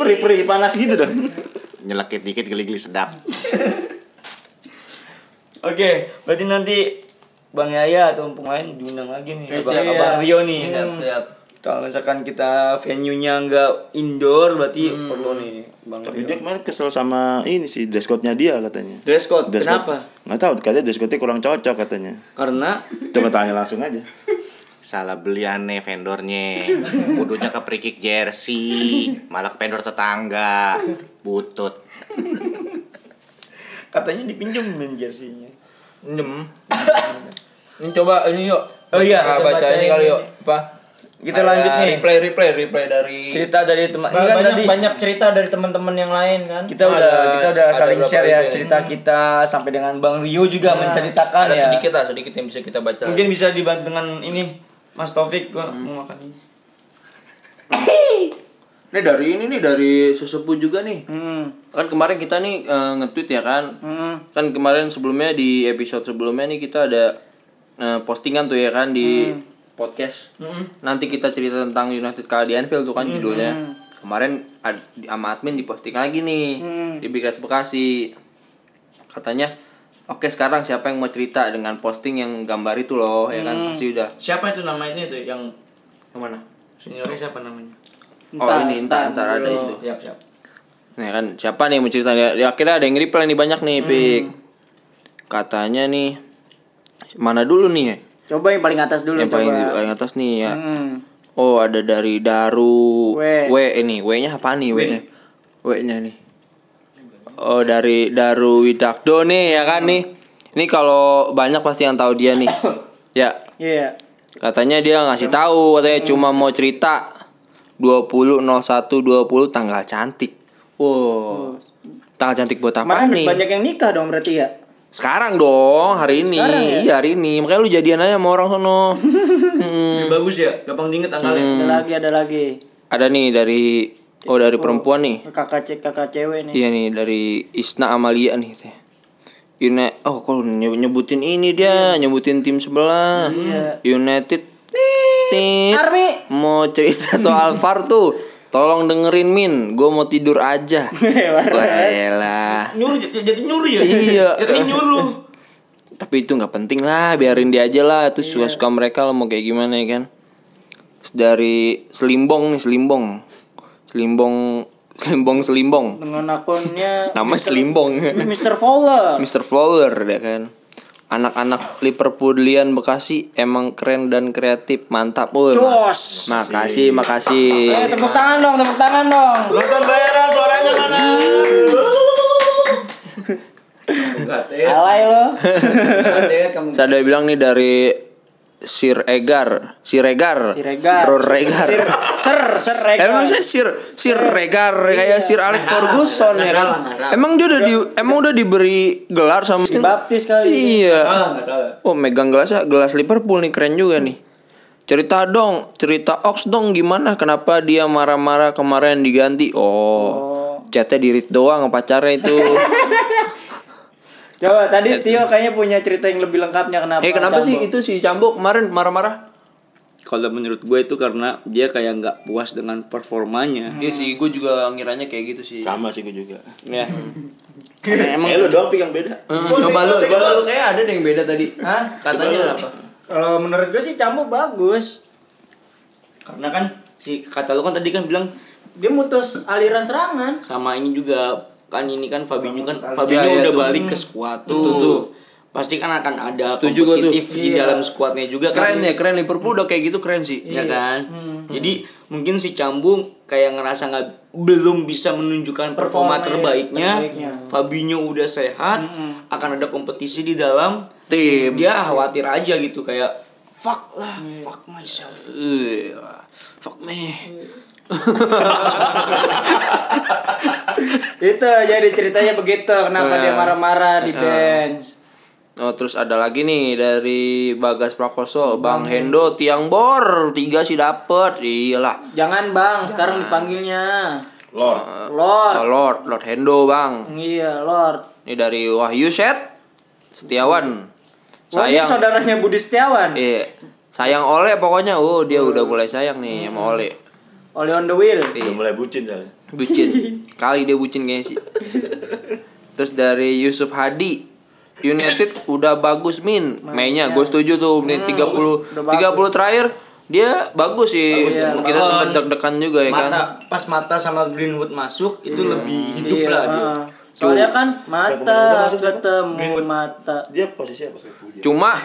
[SPEAKER 8] perih-perih panas gitu dong.
[SPEAKER 10] Nyelekit dikit geli-geli sedap.
[SPEAKER 2] Oke, berarti nanti Bang Yaya atau pemain diundang lagi nih.
[SPEAKER 9] Siap,
[SPEAKER 2] Bang,
[SPEAKER 9] siap.
[SPEAKER 2] Abang Rio nih.
[SPEAKER 9] Siap, siap.
[SPEAKER 2] Kalau misalkan kita venue-nya nggak indoor berarti perlu nih Bang. Rio.
[SPEAKER 8] Tapi dia kemarin kesel sama ini sih dress code-nya dia katanya.
[SPEAKER 2] dress code
[SPEAKER 8] Dress code-
[SPEAKER 2] kenapa?
[SPEAKER 8] Nggak tahu, katanya dress code-nya kurang cocok katanya.
[SPEAKER 2] Karena
[SPEAKER 8] Coba tanya langsung aja.
[SPEAKER 10] Salah beliannya vendornya. Kudunya ke free jersey, malah ke vendor tetangga. Butut.
[SPEAKER 2] katanya dipinjam main jersey-nya.
[SPEAKER 5] Nem. ini coba ini yuk.
[SPEAKER 2] Oh iya,
[SPEAKER 5] Kita
[SPEAKER 2] kita
[SPEAKER 5] baca ini
[SPEAKER 2] bacain
[SPEAKER 5] kali
[SPEAKER 2] ini.
[SPEAKER 5] yuk. Apa? Ah,
[SPEAKER 2] Kita lanjut nih.
[SPEAKER 5] Replay replay replay dari
[SPEAKER 2] Cerita dari teman ini kan
[SPEAKER 1] banyak
[SPEAKER 2] tadi
[SPEAKER 1] banyak cerita dari teman-teman yang lain kan Hmm.
[SPEAKER 2] kita
[SPEAKER 5] Ada-
[SPEAKER 2] udah kita udah
[SPEAKER 5] ada
[SPEAKER 2] saling
[SPEAKER 5] berapa
[SPEAKER 2] share ya
[SPEAKER 5] ide.
[SPEAKER 2] cerita kita sampai dengan Bang Rio
[SPEAKER 1] Iya.
[SPEAKER 2] juga menceritakan
[SPEAKER 5] ada
[SPEAKER 2] ya.
[SPEAKER 5] sedikit lah, sedikit yang bisa kita baca.
[SPEAKER 2] Mungkin bisa dibantu dengan ini Mas Taufik gua mau makan ini.
[SPEAKER 5] Ini dari ini nih dari sesepuh juga nih.
[SPEAKER 2] Hmm.
[SPEAKER 5] Kan kemarin kita nih eh, nge-tweet ya kan.
[SPEAKER 2] Hmm.
[SPEAKER 5] Kan kemarin sebelumnya di episode sebelumnya nih kita ada eh, postingan tuh ya kan
[SPEAKER 2] Hmm.
[SPEAKER 5] di podcast. Nanti kita cerita tentang United kalah di Anfield tuh kan
[SPEAKER 2] Hmm.
[SPEAKER 5] judulnya. Kemarin ad, di- sama admin diposting lagi nih
[SPEAKER 2] Hmm.
[SPEAKER 5] di Big Reds Bekasi. Katanya Oke sekarang siapa yang mau cerita dengan posting yang gambar itu loh ya kan
[SPEAKER 2] Hmm.
[SPEAKER 5] pasti udah
[SPEAKER 2] Siapa itu nama itu itu yang
[SPEAKER 5] kemana?
[SPEAKER 2] seniornya siapa namanya?
[SPEAKER 5] Oh ini entar entar ada itu.
[SPEAKER 2] Siap, siap.
[SPEAKER 5] Nah kan siapa nih yang mau cerita ya, ya, akhirnya ada yang reply nih banyak
[SPEAKER 1] Hmm.
[SPEAKER 5] nih Pik Katanya nih Mana dulu nih ya
[SPEAKER 1] coba yang paling atas dulu Hmm.
[SPEAKER 5] Yang paling di paling atas nih ya Oh ada dari Daru
[SPEAKER 1] W.
[SPEAKER 5] W ini W nya apa nih W nya W nya nih Oh dari Daru Widakdo nih ya
[SPEAKER 1] Hmm.
[SPEAKER 5] kan nih Ini kalau banyak pasti yang tahu dia nih Ya
[SPEAKER 1] iya
[SPEAKER 5] Katanya dia ngasih tahu katanya
[SPEAKER 1] Hmm.
[SPEAKER 5] cuma mau cerita 20.01.20 tanggal cantik. Wow. Tanggal cantik buat apa
[SPEAKER 1] Oh. Kemarin
[SPEAKER 5] nih?
[SPEAKER 1] banyak yang nikah dong berarti ya
[SPEAKER 5] Sekarang dong, hari ini.
[SPEAKER 1] Sekarang ya?
[SPEAKER 5] Iya, hari ini. Makanya lu jadian aja sama orang sono.
[SPEAKER 2] Lebih bagus ya, gampang diinget tanggalnya.
[SPEAKER 5] Hmm.
[SPEAKER 1] ada lagi ada lagi
[SPEAKER 5] Ada nih dari oh dari perempuan nih.
[SPEAKER 1] kakak cek kakak cewek nih
[SPEAKER 5] Iya nih dari Isna Amalia nih katanya. Uni oh kalau nyeb- nyebutin ini dia, nyebutin tim sebelah. United Tit.
[SPEAKER 1] Army.
[SPEAKER 5] Mau cerita soal VAR tuh. Tolong dengerin Min, gue mau tidur aja. Wah, elah.
[SPEAKER 2] Nyuruh jat- jatuh nyuruh ya.
[SPEAKER 5] Iya.
[SPEAKER 2] Jatuh nyuruh.
[SPEAKER 5] Tapi itu nggak penting lah, biarin dia aja lah. Itu suka-suka mereka lo mau kayak gimana ya kan. Terus dari Selimbong nih, Selimbong. Selimbong, Selimbong, Selimbong.
[SPEAKER 1] dengan akunnya
[SPEAKER 5] Nama Selimbong.
[SPEAKER 1] Mr. Fowler
[SPEAKER 5] Mr. Fowler ya kan anak-anak Liverpoolian Bekasi emang keren dan kreatif mantap Woi, ma-
[SPEAKER 1] Jos
[SPEAKER 5] makasih makasih
[SPEAKER 1] eh tepuk tangan dong tepuk tangan dong
[SPEAKER 8] Nonton bayaran suaranya mana?
[SPEAKER 5] ya?
[SPEAKER 1] alay lo
[SPEAKER 5] Terus ada yang bilang nih dari Sir Egar Sir Egar
[SPEAKER 1] Siregar
[SPEAKER 5] Ror Regar
[SPEAKER 1] Sir Sir Sir
[SPEAKER 5] Eh,
[SPEAKER 1] Regar
[SPEAKER 5] maksudnya Sir Sir Iya. Regar kayak Sir Alex Ferguson ya kan. Emang dia udah di emang udah diberi gelar sama
[SPEAKER 1] Dibaptis kali.
[SPEAKER 5] Iya.
[SPEAKER 2] Ah, nggak salah.
[SPEAKER 5] Oh megang gelasnya gelas Liverpool nih keren juga nih. Cerita dong, cerita Ox dong gimana kenapa dia marah-marah kemarin diganti? Oh. Chatnya di read doang sama pacarnya itu.
[SPEAKER 1] coba tadi Tio kayaknya punya cerita yang lebih lengkapnya kenapa
[SPEAKER 5] eh kenapa sih
[SPEAKER 1] Cambo?
[SPEAKER 5] itu si Cambo kemarin marah-marah?
[SPEAKER 2] Kalau menurut gue itu karena dia kayak nggak puas dengan performanya.
[SPEAKER 5] Iya sih, gue juga ngiranya kayak gitu sih.
[SPEAKER 8] Sama sih gue juga.
[SPEAKER 2] Ya.
[SPEAKER 5] Emang
[SPEAKER 8] Eh lu doang pik yang beda.
[SPEAKER 5] Hmm, coba lu, coba lu kayak ada deh yang beda tadi. Hah? Katanya apa?
[SPEAKER 1] Kan, kalau menurut gue sih Cambo bagus
[SPEAKER 2] Karena kan si kata lu kan tadi kan bilang
[SPEAKER 1] dia mutus aliran serangan
[SPEAKER 2] sama ini juga kan ini kan Fabinho kan Fabinho
[SPEAKER 5] Ya, ya,
[SPEAKER 2] udah
[SPEAKER 5] tuh.
[SPEAKER 2] balik ke skuad tuh.
[SPEAKER 5] Betul tuh.
[SPEAKER 2] Pasti kan akan ada
[SPEAKER 5] Setuju gua tuh.
[SPEAKER 2] kompetitif di dalam skuadnya juga kan.
[SPEAKER 5] Keren ya, keren Liverpool udah kayak gitu keren sih.
[SPEAKER 2] ya
[SPEAKER 1] Iya.
[SPEAKER 2] kan
[SPEAKER 1] Hmm.
[SPEAKER 2] jadi mungkin si Cambung kayak ngerasa nggak belum bisa menunjukkan performa,
[SPEAKER 1] Performa, iya,
[SPEAKER 2] terbaiknya.
[SPEAKER 1] terbaiknya. Hmm.
[SPEAKER 2] Fabinho udah sehat akan ada kompetisi di dalam
[SPEAKER 5] Tim.
[SPEAKER 2] dia khawatir aja gitu kayak fuck lah
[SPEAKER 1] Iya.
[SPEAKER 2] fuck myself
[SPEAKER 5] Eh, fuck me.
[SPEAKER 1] itu jadi ceritanya begitu kenapa
[SPEAKER 5] Nah.
[SPEAKER 1] dia marah-marah di bench
[SPEAKER 5] Oh, terus ada lagi nih dari Bagas Prakoso, Bang, Hendo tiang bor, tiga sih dapet. Iya Iyalah.
[SPEAKER 1] jangan bang sekarang dipanggilnya
[SPEAKER 8] Lord.
[SPEAKER 5] Oh,
[SPEAKER 1] Lord
[SPEAKER 5] Lord, Lord Hendo, Bang.
[SPEAKER 1] iya Lord
[SPEAKER 5] Ini dari Wahyu Set Setiawan.
[SPEAKER 1] Wah, ini
[SPEAKER 5] Sayang.
[SPEAKER 1] saudaranya Budi Setiawan
[SPEAKER 5] Iya. Sayang oleh pokoknya. Oh, dia udah mulai sayang nih
[SPEAKER 1] Hmm.
[SPEAKER 5] sama oleh.
[SPEAKER 1] Oleh on the wheel
[SPEAKER 5] Iya.
[SPEAKER 8] Udah mulai bucin soalnya.
[SPEAKER 5] Bucin. Kali dia bucin kayaknya sih. Terus dari Yusuf Hadi. United udah bagus Min. Mainnya gue setuju tuh menit 30
[SPEAKER 1] bagus.
[SPEAKER 5] 30 terakhir Dia bagus sih. Kita sempat deg-degan juga ya kan.
[SPEAKER 2] mata pas mata sama Greenwood masuk itu lebih hidup
[SPEAKER 1] Iya Iya,
[SPEAKER 2] lah dia.
[SPEAKER 1] ah. Soalnya kan mata ketemu mata.
[SPEAKER 8] Dia posisi apa?
[SPEAKER 5] Cuma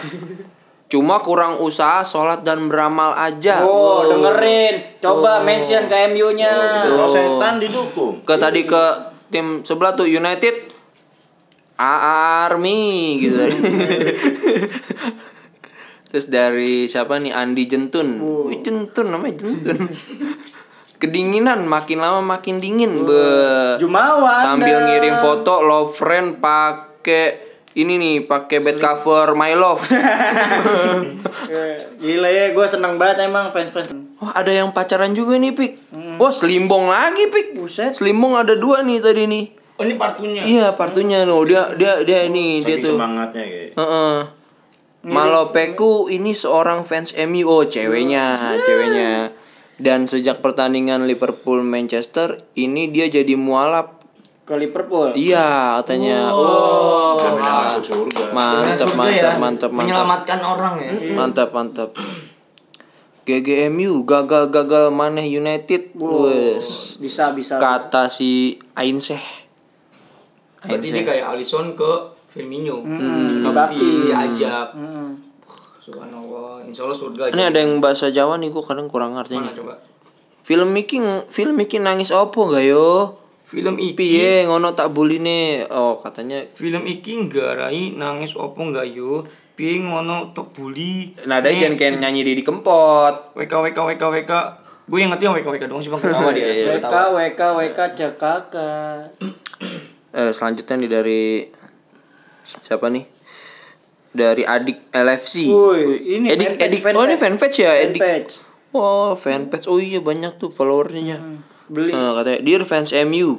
[SPEAKER 5] cuma kurang usaha sholat dan beramal aja.
[SPEAKER 1] Oh, dengerin. Coba mention ke MU-nya.
[SPEAKER 5] gitu.
[SPEAKER 8] Kalau setan didukung.
[SPEAKER 5] Ke tadi ke tim sebelah tuh United Army gitu. Terus dari siapa nih Andi Jentun.
[SPEAKER 1] Oh.
[SPEAKER 5] Wih, Jentun namanya Jentun. Kedinginan makin lama makin dingin. Be.
[SPEAKER 1] Oh, Jumawa.
[SPEAKER 5] sambil
[SPEAKER 1] Anda.
[SPEAKER 5] ngirim foto love friend pakai ini nih pakai bed cover my love
[SPEAKER 1] Eh, Gila ya, gue seneng banget emang fans-fans.
[SPEAKER 5] wah ada yang pacaran juga nih pik wah selimbong lagi pik
[SPEAKER 1] Hmm. Buset.
[SPEAKER 5] selimbong ada dua nih tadi nih
[SPEAKER 2] Oh, ini partunya.
[SPEAKER 5] iya partunya loh dia dia dia nih dia
[SPEAKER 8] Saking
[SPEAKER 5] tuh
[SPEAKER 8] semangatnya kayak.
[SPEAKER 5] Heeh. Malopeku ini seorang fans MU oh ceweknya,
[SPEAKER 2] Hmm.
[SPEAKER 5] ceweknya. Dan sejak pertandingan Liverpool Manchester ini dia jadi mualaf.
[SPEAKER 1] Ke Liverpool.
[SPEAKER 5] Iya katanya. oh
[SPEAKER 8] Jaminan masuk surga.
[SPEAKER 5] Mantap,
[SPEAKER 2] Surga ya,
[SPEAKER 5] mantap, mantap, mantap,
[SPEAKER 2] Menyelamatkan orang ya.
[SPEAKER 1] Iya.
[SPEAKER 5] mantap, mantap. GGMU gagal gagal maneh United. Wes.
[SPEAKER 1] Bisa, bisa.
[SPEAKER 5] Kata si Ainseh.
[SPEAKER 2] Berarti
[SPEAKER 5] Iya,
[SPEAKER 2] dia kayak Alisson ke Firmino.
[SPEAKER 5] Mm-hmm.
[SPEAKER 1] Hmm.
[SPEAKER 2] Baptis
[SPEAKER 1] Baptis.
[SPEAKER 2] diajak.
[SPEAKER 1] Hmm.
[SPEAKER 2] Subhanallah. Insya Allah surga.
[SPEAKER 5] Ini ada yang bahasa Jawa nih gua kadang kurang ngerti.
[SPEAKER 2] mana
[SPEAKER 5] nih.
[SPEAKER 2] coba?
[SPEAKER 5] Film iki film iki nangis opo gak yo?
[SPEAKER 2] Film iki.
[SPEAKER 1] Iya.
[SPEAKER 5] Piye ngono tak buline. Oh, katanya
[SPEAKER 2] Film iki nggarai nangis opo nggak yo? Piye ngono tok bully.
[SPEAKER 5] nada
[SPEAKER 2] Nek,
[SPEAKER 5] jangan
[SPEAKER 1] Iya.
[SPEAKER 5] kayak nyanyi di kempot.
[SPEAKER 2] WK WK WK WK. Gue yang ngerti yang WK WK doang sih bang ketawa dia.
[SPEAKER 5] Iya,
[SPEAKER 2] Dia
[SPEAKER 1] WK,
[SPEAKER 2] ketawa.
[SPEAKER 1] WK, WK, JKK.
[SPEAKER 5] Eh, selanjutnya nih dari siapa nih? Dari Adik LFC.
[SPEAKER 1] Woi, ini
[SPEAKER 5] Edik Edik.
[SPEAKER 1] fanpage, fanpage.
[SPEAKER 5] Oh, ini fanpage ya, Edik.
[SPEAKER 1] Fanpage.
[SPEAKER 5] Oh, fanpage. Oh iya banyak tuh followernya.
[SPEAKER 1] Beli.
[SPEAKER 5] Eh, katanya, "Dear fans MU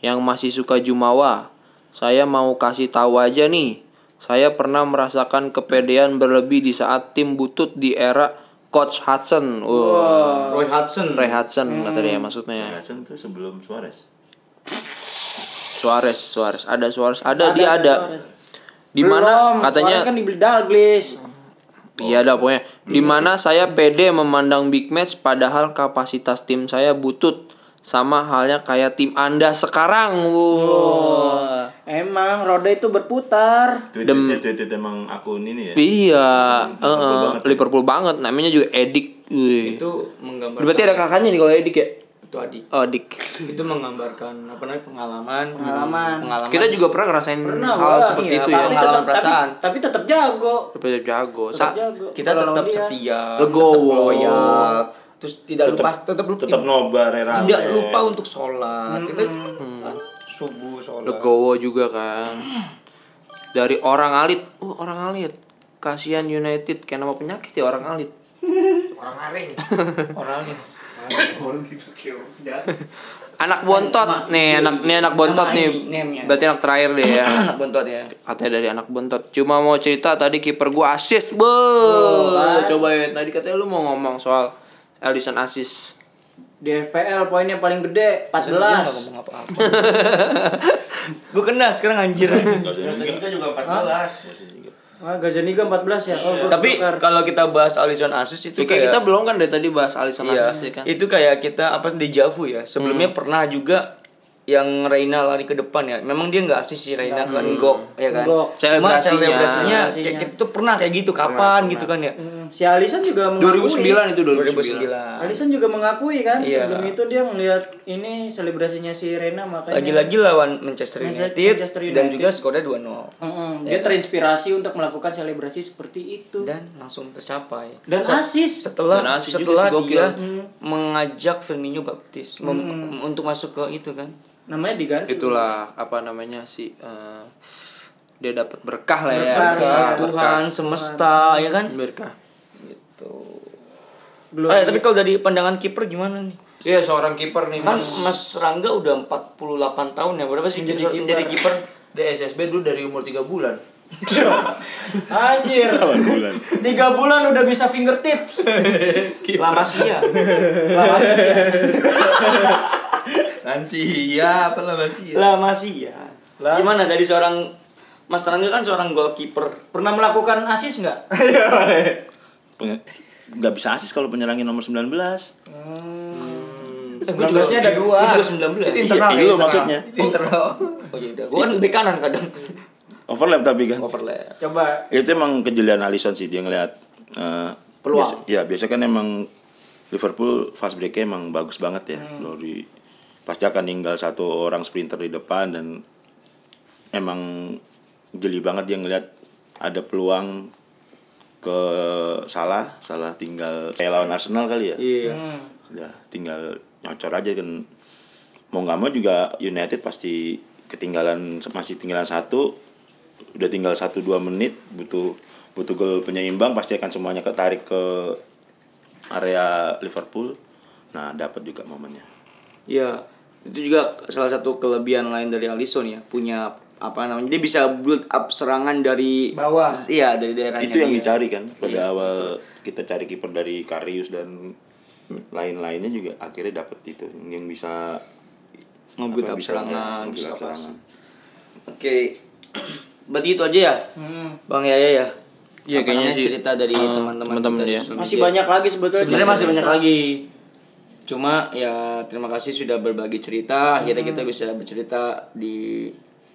[SPEAKER 5] yang masih suka Jumawa, saya mau kasih tahu aja nih. Saya pernah merasakan kepedean berlebih di saat tim butut di era Coach Hudson." Wah,
[SPEAKER 2] Roy Hudson.
[SPEAKER 5] Ray Hudson kata dia maksudnya.
[SPEAKER 8] Hasan tuh sebelum Suarez.
[SPEAKER 5] Suarez, Suarez. Ada Suarez, ada, dia ada. Di
[SPEAKER 1] Belum,
[SPEAKER 5] mana
[SPEAKER 1] Suarez
[SPEAKER 5] katanya
[SPEAKER 1] kan dibeli Dalglish.
[SPEAKER 5] Iya ada pokoknya. Di mana saya pede memandang big match padahal kapasitas tim saya butut sama halnya kayak tim Anda sekarang. Wow. Ah.
[SPEAKER 1] Emang roda itu berputar.
[SPEAKER 8] Tweet tweet tweet, tweet emang akun ini ya.
[SPEAKER 5] Iya, eh, eh,
[SPEAKER 1] ya.
[SPEAKER 5] Liverpool banget. Namanya juga Edik. Wih.
[SPEAKER 2] Itu menggambarkan.
[SPEAKER 5] Berarti ada kakaknya nih kalau Edik ya?
[SPEAKER 2] itu adik.
[SPEAKER 5] Oh, Edik.
[SPEAKER 2] Itu menggambarkan apa namanya pengalaman.
[SPEAKER 1] Pengalaman.
[SPEAKER 2] Pengalaman.
[SPEAKER 5] Kita juga pernah ngerasain hal
[SPEAKER 1] Wah,
[SPEAKER 5] seperti
[SPEAKER 1] iya,
[SPEAKER 5] itu ya.
[SPEAKER 1] tapi
[SPEAKER 2] Pengalaman
[SPEAKER 1] tetap-
[SPEAKER 2] perasaan.
[SPEAKER 1] Tapi, tapi tetap jago.
[SPEAKER 5] Tetap jago.
[SPEAKER 1] Tetap
[SPEAKER 5] Sa-
[SPEAKER 1] jago.
[SPEAKER 2] kita
[SPEAKER 1] Kalau
[SPEAKER 2] tetap
[SPEAKER 1] lawan dia.
[SPEAKER 2] setia,
[SPEAKER 5] Legowo.
[SPEAKER 2] tetap loyal, terus tidak lupa tetap lupa
[SPEAKER 8] Tetap nobar rela.
[SPEAKER 2] tidak lupa untuk sholat. Kita subuh sholat.
[SPEAKER 5] Legowo juga kan. Dari orang alit. Uh, orang alit. Kasihan United kenapa penyakit ya orang alit.
[SPEAKER 10] Orang aring.
[SPEAKER 2] Orangnya.
[SPEAKER 5] Anak
[SPEAKER 1] Iya,
[SPEAKER 5] bontot nih, anak nih anak bontot
[SPEAKER 2] Nama
[SPEAKER 5] nih.
[SPEAKER 2] ini, name-nya.
[SPEAKER 5] Berarti anak terakhir deh ya.
[SPEAKER 2] Anak bontot ya.
[SPEAKER 5] Katanya dari anak bontot. Cuma mau cerita tadi kiper gua asis, Bo. Coba ya tadi katanya lu mau ngomong soal Alisson asis.
[SPEAKER 1] Di FPL poinnya paling gede 14.
[SPEAKER 2] ngomong apa-apa. Gue kena sekarang anjir.
[SPEAKER 10] Kita juga 14.
[SPEAKER 1] Wah, Gazaniga 14 ya. Oh, gua
[SPEAKER 2] Tapi
[SPEAKER 1] ketukar.
[SPEAKER 2] kalau kita bahas Alisson Asus
[SPEAKER 5] Itu
[SPEAKER 2] itu
[SPEAKER 5] kayak kita
[SPEAKER 2] kayak
[SPEAKER 5] belum kan dari tadi bahas Alisson
[SPEAKER 2] iya,
[SPEAKER 5] asis ya kan.
[SPEAKER 2] itu kayak kita apa dejavu ya. Sebelumnya pernah juga yang Reina lari ke depan ya. Memang dia nggak asis sih Reina kan gok ya kan.
[SPEAKER 1] Ngok.
[SPEAKER 2] Cuma
[SPEAKER 5] Selebrasinya.
[SPEAKER 2] selebrasinya kayak kayak itu pernah kayak gitu kapan gitu kan ya.
[SPEAKER 1] Hmm, si Alisson juga mengakui.
[SPEAKER 5] 2009 itu 2009.
[SPEAKER 2] 2009.
[SPEAKER 1] Alisson juga mengakui kan
[SPEAKER 2] Iya.
[SPEAKER 1] sebelum itu dia melihat ini selebrasinya si Rena makanya
[SPEAKER 2] Lagi-lagi lawan Manchester
[SPEAKER 1] Manchester-
[SPEAKER 2] United,
[SPEAKER 1] Manchester United. Hmm.
[SPEAKER 2] dan juga skornya 2-0.
[SPEAKER 1] Mm-mm, dia terinspirasi untuk melakukan selebrasi seperti itu dan,
[SPEAKER 2] Dan langsung tercapai.
[SPEAKER 1] asis
[SPEAKER 2] Setelah
[SPEAKER 5] Dan asis juga
[SPEAKER 2] setelah
[SPEAKER 5] sih, gokil.
[SPEAKER 2] dia
[SPEAKER 1] Hmm.
[SPEAKER 2] mengajak Firmino Baptis mem- untuk masuk ke itu kan.
[SPEAKER 1] namanya diganti
[SPEAKER 5] Itulah apa namanya si eh, dia dapat berkah lah ya.
[SPEAKER 2] Berkat Tuhan semesta ya kan.
[SPEAKER 5] berkah.
[SPEAKER 1] Belum.
[SPEAKER 2] Eh, tapi kalau dari pandangan kiper gimana nih?
[SPEAKER 5] Iya seorang kiper nih
[SPEAKER 2] Kan
[SPEAKER 5] Mas.
[SPEAKER 2] Mas Rangga udah 48 tahun ya. Berapa sih jadi jadi kiper?
[SPEAKER 5] Dia SSB dulu dari umur 3 bulan.
[SPEAKER 1] anjir
[SPEAKER 8] bulan.
[SPEAKER 1] tiga bulan udah bisa fingertips
[SPEAKER 2] Lama sih ya.
[SPEAKER 1] ya.
[SPEAKER 5] Nanti ya apa lah
[SPEAKER 1] Iya.
[SPEAKER 5] masih.
[SPEAKER 2] Lama sih ya. Gimana dari seorang Mas Rangga kan seorang goalkeeper.
[SPEAKER 1] pernah melakukan asis nggak
[SPEAKER 8] Penge- nggak bisa asis kalau penyerangnya nomor 19
[SPEAKER 1] Bagusnya ada dua.
[SPEAKER 2] Itu juga 19.
[SPEAKER 9] internal ya,
[SPEAKER 8] iya, lu
[SPEAKER 9] internal.
[SPEAKER 8] maksudnya.
[SPEAKER 9] Itu internal.
[SPEAKER 2] Oh iya udah. Gua kan bek kanan kadang.
[SPEAKER 8] overlap tapi kan
[SPEAKER 2] Overlap.
[SPEAKER 1] Coba
[SPEAKER 8] itu emang kejelian Alisson sih dia ngelihat eh,
[SPEAKER 2] Peluang.
[SPEAKER 8] biasa- ya biasa kan emang Liverpool fast breaknya emang bagus banget ya
[SPEAKER 2] Hmm.
[SPEAKER 8] Lori pasti akan tinggal satu orang sprinter di depan dan emang jeli banget dia ngelihat ada peluang ke salah salah tinggal kayak lawan Arsenal kali ya
[SPEAKER 2] Iya.
[SPEAKER 8] sudah tinggal nyocor aja kan mau nggak mau juga United pasti ketinggalan masih tinggalan satu udah tinggal satu dua menit butuh butuh gol penyeimbang pasti akan semuanya ketarik ke area Liverpool nah dapat juga momennya
[SPEAKER 2] Iya. Itu juga salah satu kelebihan lain dari Alisson ya, punya apa namanya? Dia bisa build up serangan dari
[SPEAKER 9] Bawah.
[SPEAKER 2] Iya, dari daerahnya.
[SPEAKER 8] itu yang
[SPEAKER 2] dia.
[SPEAKER 8] dicari kan
[SPEAKER 9] Iya.
[SPEAKER 8] pada awal kita cari kiper dari Karius dan lain-lainnya juga akhirnya dapat itu yang bisa
[SPEAKER 2] Nge-build up
[SPEAKER 8] apa, bisa ya,
[SPEAKER 2] serangan,
[SPEAKER 8] nge-build
[SPEAKER 2] bisa
[SPEAKER 8] up
[SPEAKER 2] apa.
[SPEAKER 8] serangan.
[SPEAKER 2] Oke. Berarti itu aja ya?
[SPEAKER 1] Hmm.
[SPEAKER 2] Bang Yaya ya.
[SPEAKER 5] Iya,
[SPEAKER 2] Apa
[SPEAKER 5] kayaknya
[SPEAKER 2] namanya,
[SPEAKER 5] sih.
[SPEAKER 2] cerita dari
[SPEAKER 5] Eh,
[SPEAKER 2] teman-teman
[SPEAKER 5] teman-teman
[SPEAKER 2] kita di
[SPEAKER 5] ya.
[SPEAKER 2] sosial
[SPEAKER 1] masih
[SPEAKER 2] media.
[SPEAKER 1] banyak lagi sebetulnya.
[SPEAKER 2] Sebenarnya masih banyak lagi. Cuma ya terima kasih sudah berbagi cerita. Akhirnya kita bisa bercerita di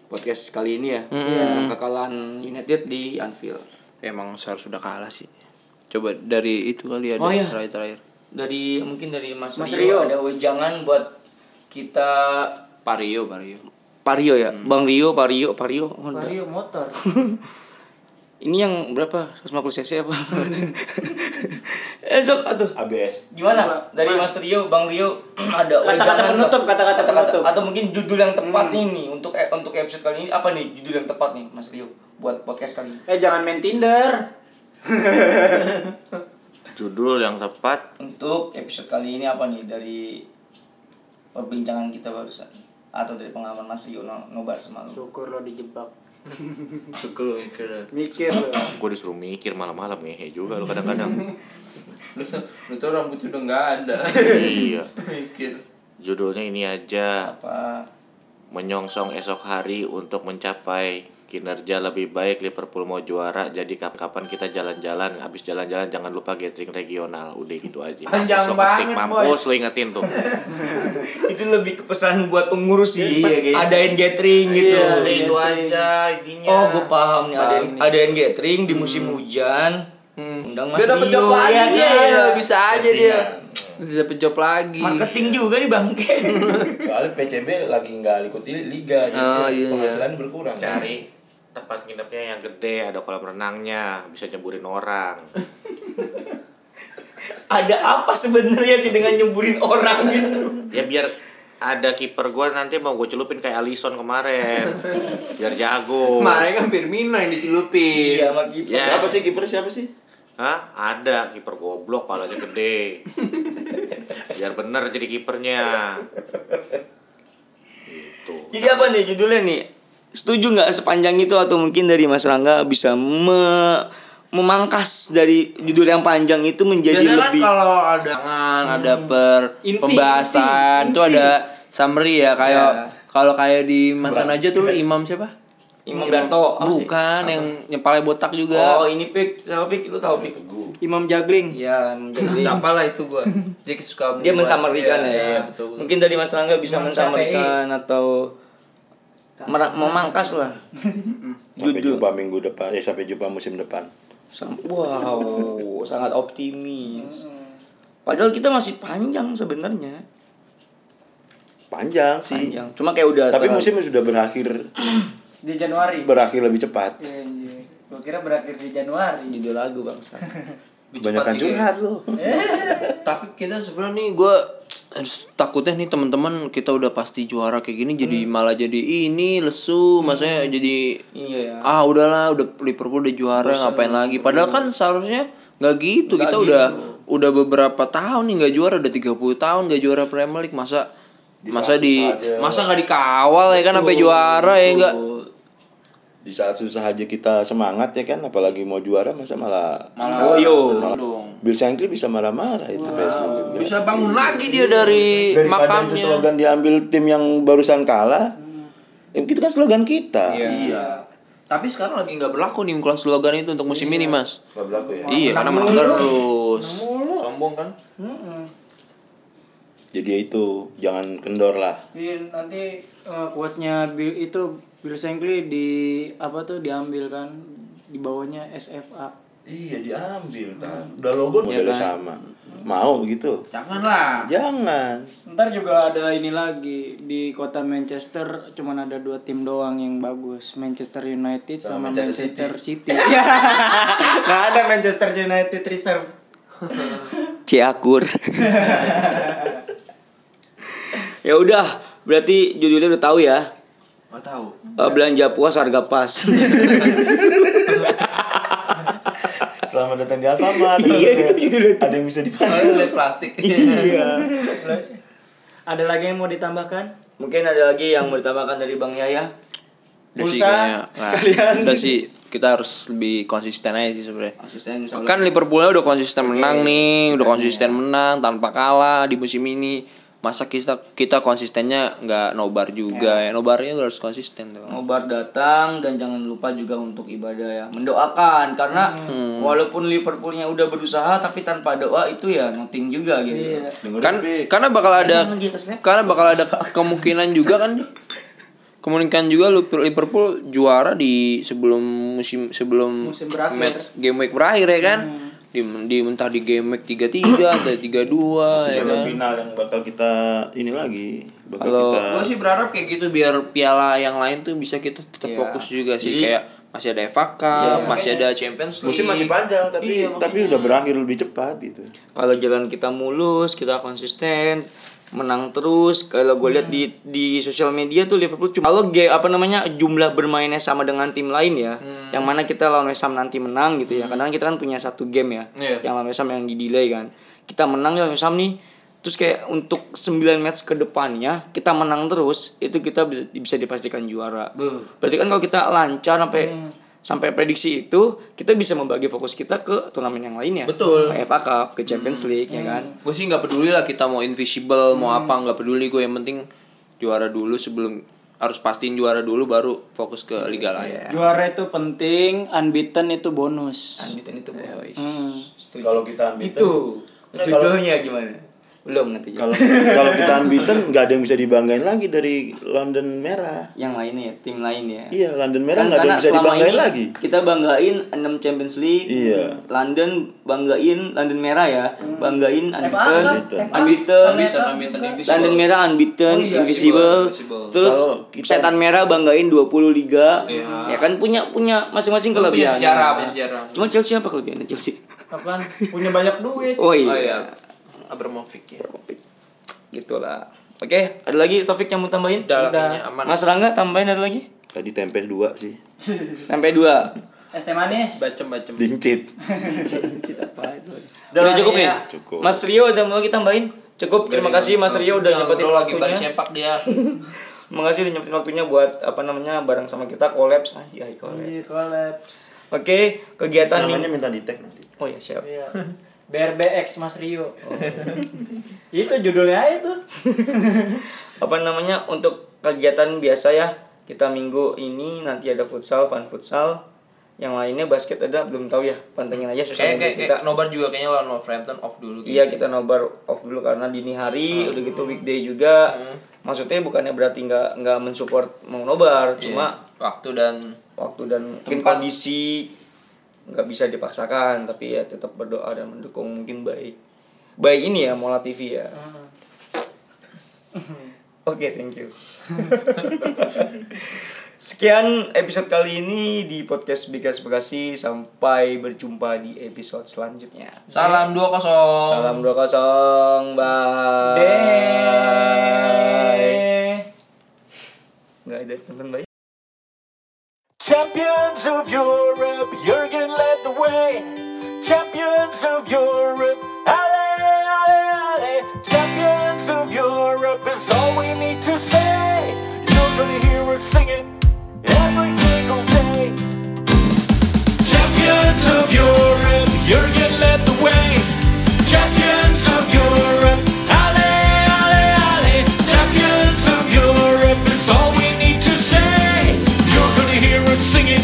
[SPEAKER 2] podcast kali ini ya. Tentang Kekalahan United di Anfield.
[SPEAKER 5] Emang Sar sudah kalah sih. Coba dari itu kali ada
[SPEAKER 2] Oh, iya.
[SPEAKER 5] terakhir-terakhir.
[SPEAKER 2] Dari mungkin dari Mas,
[SPEAKER 1] Mas Rio.
[SPEAKER 2] ada wejangan buat kita
[SPEAKER 5] Pario, Pario.
[SPEAKER 2] Pario ya. Bang Rio, Pario, Pario. Oh, enggak.
[SPEAKER 1] Mario motor.
[SPEAKER 2] Ini yang berapa? 150 cc apa? Esok atuh.
[SPEAKER 8] ABS
[SPEAKER 2] Gimana? Dari Mas Rio, Bang Rio ada
[SPEAKER 1] Kata-kata
[SPEAKER 2] wejangan
[SPEAKER 1] penutup,
[SPEAKER 2] nggak?
[SPEAKER 1] kata-kata
[SPEAKER 2] Kata-kata-
[SPEAKER 1] penutup.
[SPEAKER 2] atau mungkin judul yang tepat nih nih untuk eh, untuk episode kali ini apa nih judul yang tepat nih Mas Rio buat podcast kali ini?
[SPEAKER 1] Eh jangan main Tinder.
[SPEAKER 10] Judul yang tepat
[SPEAKER 2] Untuk episode kali ini apa nih dari perbincangan kita barusan atau dari pengalaman Mas Rio no- nobar semalam?
[SPEAKER 1] Syukur lo dijebak.
[SPEAKER 5] Syukur mikir.
[SPEAKER 1] Mikir lo.
[SPEAKER 10] gue disuruh mikir malam-malam ngehe juga lo kadang-kadang
[SPEAKER 9] Lu tuh rambut udah nggak ada.
[SPEAKER 10] iya
[SPEAKER 9] Mikir.
[SPEAKER 10] judulnya ini aja
[SPEAKER 2] Apa?
[SPEAKER 10] menyongsong esok hari untuk mencapai kinerja lebih baik Liverpool mau juara jadi kap- kapan kita jalan-jalan habis jalan-jalan jangan lupa gathering regional udah gitu aja
[SPEAKER 9] Panjang
[SPEAKER 10] Mampus lo ketik,
[SPEAKER 9] banget,
[SPEAKER 10] mampus lo ingetin tuh
[SPEAKER 2] Itu lebih ke pesan buat pengurus sih. pas
[SPEAKER 5] guys.
[SPEAKER 2] adain gathering gitu.
[SPEAKER 10] udah itu aja intinya
[SPEAKER 9] Ya.
[SPEAKER 2] Oh, gue paham nih. Ada
[SPEAKER 5] Paham nih.
[SPEAKER 2] ada yang gathering di musim hujan. Undang Mas
[SPEAKER 9] Hmm. Dia dapat
[SPEAKER 2] Rio.
[SPEAKER 9] job lagi
[SPEAKER 2] Iya,
[SPEAKER 9] ya,
[SPEAKER 2] kan?
[SPEAKER 9] bisa aja dia. Dia dapat job lagi.
[SPEAKER 2] Marketing juga nih bangke.
[SPEAKER 8] soalnya PCB lagi nggak ikuti liga jadi
[SPEAKER 9] Oh, iya,
[SPEAKER 8] penghasilan berkurang
[SPEAKER 10] cari tempat nginepnya yang gede ada kolam renangnya bisa nyeburin orang
[SPEAKER 2] ada apa sebenarnya sih dengan nyemburin orang gitu?
[SPEAKER 10] ya biar ada kiper gue nanti mau gue celupin kayak Alisson kemarin biar jago
[SPEAKER 9] Kemarin kan Firmino yang dicelupin.
[SPEAKER 2] Iya, sama gitu.
[SPEAKER 10] Yes.
[SPEAKER 8] siapa sih kiper siapa sih
[SPEAKER 10] Hah? Ada kiper goblok palanya gede. Biar bener jadi kipernya. Gitu.
[SPEAKER 2] Jadi apa nih judulnya nih? Setuju nggak sepanjang itu atau mungkin dari Mas Rangga bisa me- memangkas dari judul yang panjang itu menjadi
[SPEAKER 9] Biasanya kan
[SPEAKER 2] lebih
[SPEAKER 9] kalau ada
[SPEAKER 5] tangan, ada
[SPEAKER 2] Hmm.
[SPEAKER 5] per
[SPEAKER 1] Inti,
[SPEAKER 5] pembahasan, itu ada summary ya kayak
[SPEAKER 2] Ya.
[SPEAKER 5] kalau kayak di mantan aja tuh lu imam siapa?
[SPEAKER 2] Imam Darto apa sih?
[SPEAKER 5] Bukan yang nyepalnya botak
[SPEAKER 2] Oh,
[SPEAKER 5] juga.
[SPEAKER 2] ini pik, siapa pik? Lu tahu pik?
[SPEAKER 1] Imam Jagling.
[SPEAKER 2] Iya, menjadi
[SPEAKER 9] siapa lah itu gua. Dia suka
[SPEAKER 2] dia
[SPEAKER 9] membuat-
[SPEAKER 2] mensamarikan
[SPEAKER 9] Iya,
[SPEAKER 2] ya,
[SPEAKER 9] iya, betul.
[SPEAKER 2] mungkin dari mas Rangga bisa mensamarikan atau mer- memangkas lah
[SPEAKER 8] sampai jumpa minggu depan ya sampai jumpa musim depan
[SPEAKER 2] Sam- wow sangat optimis padahal kita masih panjang sebenarnya
[SPEAKER 8] panjang sih
[SPEAKER 2] panjang cuma kayak udah
[SPEAKER 8] tapi
[SPEAKER 2] ter-
[SPEAKER 8] musim sudah berakhir
[SPEAKER 1] Di Januari.
[SPEAKER 8] berakhir lebih cepat
[SPEAKER 1] Iya, iya. Gua kira berakhir di Januari.
[SPEAKER 2] judul lagu bangsa
[SPEAKER 8] Banyakan curhat
[SPEAKER 9] iya.
[SPEAKER 8] lo
[SPEAKER 5] Tapi kita sebenarnya nih gue harus takutnya nih teman-teman kita udah pasti juara kayak gini jadi malah jadi ini lesu maksudnya jadi
[SPEAKER 2] iya ya
[SPEAKER 5] ah udahlah udah Liverpool udah juara ngapain lagi padahal kan seharusnya nggak gitu kita udah udah beberapa tahun nih nggak juara udah 30 tahun nggak juara Premier League masa masa di masa nggak dikawal ya kan sampai juara ya enggak
[SPEAKER 8] di saat susah aja kita semangat ya kan apalagi mau juara masa malah
[SPEAKER 5] malah iya,
[SPEAKER 8] malah- Bill Shankly bisa marah-marah itu PSG juga.
[SPEAKER 9] Bisa bangun lagi dia
[SPEAKER 5] dia dari
[SPEAKER 8] daripada
[SPEAKER 5] makamnya
[SPEAKER 8] itu slogan diambil tim yang barusan kalah ya, itu kan slogan gitu kita
[SPEAKER 2] iya
[SPEAKER 5] Tapi sekarang lagi nggak berlaku nih kelas slogan itu untuk musim ini mas.
[SPEAKER 8] Nggak berlaku ya.
[SPEAKER 5] iya karena melanggar terus. Sombong kan?
[SPEAKER 8] Jadi ya itu jangan kendor lah.
[SPEAKER 1] Iya, nanti eh, quotesnya Bill itu Bill Shankly di apa tuh diambil kan di bawahnya SFA.
[SPEAKER 8] Iya diambil kan. Udah logo modelnya sama. Mau gitu.
[SPEAKER 12] Janganlah.
[SPEAKER 8] Jangan.
[SPEAKER 1] Ntar juga ada ini lagi di kota Manchester cuman ada dua tim doang yang bagus Manchester United sama, Manchester, City. nah ada Manchester United reserve.
[SPEAKER 2] Ciakur. ya udah, berarti judulnya udah tahu ya.
[SPEAKER 5] Gak tahu.
[SPEAKER 2] Eh, belanja puas harga pas.
[SPEAKER 8] Selamat datang di Alfamart.
[SPEAKER 2] Iya, itu judulnya.
[SPEAKER 8] Ada yang bisa dibantu.
[SPEAKER 5] Lihat plastik.
[SPEAKER 1] Ada lagi yang mau ditambahkan?
[SPEAKER 2] Mungkin ada lagi yang bertambahkan dari Bang Yaya.
[SPEAKER 5] Udah sih
[SPEAKER 1] Pulsa
[SPEAKER 5] kayaknya, nah, Udah sih kita harus lebih konsisten aja sih sebenarnya.
[SPEAKER 2] Asisten
[SPEAKER 5] Kan Liverpoolnya udah konsisten menang nih, udah konsisten menang tanpa kalah di musim ini. Masa kita kita konsistennya nggak nobar juga ya. Nobarnya harus konsisten dong.
[SPEAKER 2] Nobar datang dan jangan lupa juga untuk ibadah ya. Mendoakan karena walaupun Liverpoolnya udah berusaha tapi tanpa doa itu ya nothing juga gitu.
[SPEAKER 5] Kan karena bakal ada karena bakal ada kemungkinan juga kan kemungkinan juga Liverpool juara di sebelum musim sebelum
[SPEAKER 1] Musim berakhir.
[SPEAKER 5] match game week berakhir ya kan. Di, di entah di game week 33 atau 32 ya kan.
[SPEAKER 8] final yang bakal kita ini lagi bakal kita
[SPEAKER 5] Gue sih berharap kayak gitu biar piala yang lain tuh bisa kita tetap fokus juga sih kayak masih ada FA Cup, masih ada Champions League.
[SPEAKER 8] musim masih panjang
[SPEAKER 2] Iya,
[SPEAKER 8] tapi tapi udah berakhir lebih cepat gitu
[SPEAKER 2] Kalau jalan kita mulus, kita konsisten, menang terus. Kalau gue lihat di di sosial media tuh Liverpool cuma kalau ge- apa namanya jumlah bermainnya sama dengan tim lain ya. Yang mana kita lawan West Ham nanti menang gitu ya. Kadang kita kan punya satu game ya.
[SPEAKER 5] Iya.
[SPEAKER 2] Yang lawan West Ham yang di delay kan. Kita menang lawan West Ham nih. Terus kayak untuk 9 match ke depannya kita menang terus, itu kita bisa, bisa dipastikan juara. Berarti kan kalau kita lancar sampai
[SPEAKER 5] Hmm.
[SPEAKER 2] sampai prediksi itu, kita bisa membagi fokus kita ke turnamen yang lainnya.
[SPEAKER 5] Betul. Hmm.
[SPEAKER 2] Ke FA Cup, ke Champions League ya kan.
[SPEAKER 5] Gue sih nggak peduli lah kita mau invisible mau apa nggak peduli gue yang penting juara dulu sebelum harus pastiin juara dulu baru fokus ke liga lain.
[SPEAKER 1] Juara itu penting, unbeaten itu bonus.
[SPEAKER 2] itu
[SPEAKER 8] kalau kita ambil
[SPEAKER 2] Itu
[SPEAKER 8] Nah,
[SPEAKER 2] judulnya gimana? Belum nanti.
[SPEAKER 8] kalau kalau kita unbeaten nggak ada yang bisa dibanggain lagi dari London merah
[SPEAKER 2] yang lainnya ya, tim lain ya.
[SPEAKER 8] iya London merah
[SPEAKER 2] Kan
[SPEAKER 8] nggak ada
[SPEAKER 2] karena
[SPEAKER 8] yang bisa
[SPEAKER 2] selama
[SPEAKER 8] dibanggain
[SPEAKER 2] ini
[SPEAKER 8] lagi
[SPEAKER 2] Kita banggain 6 Champions League.
[SPEAKER 8] Iya.
[SPEAKER 2] London banggain London merah ya.
[SPEAKER 5] Hmm.
[SPEAKER 2] Banggain unbeaten.
[SPEAKER 1] kan?
[SPEAKER 8] Cup,
[SPEAKER 2] Unbeaten.
[SPEAKER 5] Unbeaten, invisible.
[SPEAKER 2] London merah unbeaten, invisible.
[SPEAKER 5] Oh iya, Invisible.
[SPEAKER 2] Terus
[SPEAKER 8] Kalau Oh, kita-
[SPEAKER 2] setan merah banggain 20 liga. Ya kan punya punya masing-masing kelebihan.
[SPEAKER 5] sejarah, punya sejarah.
[SPEAKER 2] Cuma Chelsea apa kelebihannya Chelsea?
[SPEAKER 1] Apaan? Punya banyak duit.
[SPEAKER 2] Oh iya.
[SPEAKER 5] Oh iya. Abramovich ya.
[SPEAKER 2] Gitulah. Oke, ada lagi topik yang mau tambahin?
[SPEAKER 5] Udah, akhirnya aman.
[SPEAKER 2] Mas Rangga tambahin ada lagi?
[SPEAKER 8] tadi tempe dua sih
[SPEAKER 2] Sampai dua.
[SPEAKER 1] Es teh manis.
[SPEAKER 5] Bacem-bacem.
[SPEAKER 8] lincit
[SPEAKER 2] Udah,
[SPEAKER 5] iya.
[SPEAKER 2] cukup nih.
[SPEAKER 8] Cukup.
[SPEAKER 2] Mas Rio ada mau lagi tambahin? Cukup. Terima kasih Mas Rio udah nyempetin
[SPEAKER 5] Bro lagi balik
[SPEAKER 2] waktunya.
[SPEAKER 5] sempak dia.
[SPEAKER 2] Terima kasih udah nyempetin waktunya buat apa namanya bareng sama kita kolaps aja collab.
[SPEAKER 1] Collapse.
[SPEAKER 2] Oke, kegiatan
[SPEAKER 8] namanya
[SPEAKER 2] minggu.
[SPEAKER 8] minta di tag nanti
[SPEAKER 2] Oh ya, siap.
[SPEAKER 1] Iya. BRBX Mas Rio. Oh. itu judulnya itu.
[SPEAKER 2] apa namanya untuk kegiatan biasa ya kita minggu ini nanti ada futsal pan futsal yang lainnya basket ada belum tahu ya pantengin aja
[SPEAKER 5] Kayak
[SPEAKER 2] sosial media
[SPEAKER 5] kayak
[SPEAKER 2] kita
[SPEAKER 5] kayak nobar juga kayaknya lawan Wolverhampton off dulu.
[SPEAKER 2] iya kita nobar off dulu karena dini hari
[SPEAKER 5] Hmm.
[SPEAKER 2] udah gitu weekday juga maksudnya bukannya berarti nggak nggak mensupport mau nobar
[SPEAKER 5] Iya.
[SPEAKER 2] cuma
[SPEAKER 5] waktu dan
[SPEAKER 2] waktu dan mungkin kondisi nggak bisa dipaksakan tapi ya tetap berdoa dan mendukung mungkin baik baik ini ya Mola TV ya oke thank you sekian episode kali ini di podcast Bigas Bekasi sampai berjumpa di episode selanjutnya
[SPEAKER 5] salam 2-0.
[SPEAKER 2] salam dua kosong bye nggak ada nonton bye
[SPEAKER 13] Champions of Europe, Jurgen led the way. Champions of Europe, alle, alle, alle. Champions of Europe is all we need to say. You're gonna hear us sing it every single day. Champions of Europe, Jurgen led the way. Champions of Europe, alle, alle, alle. Champions of Europe is all we need to say. You're gonna hear us sing it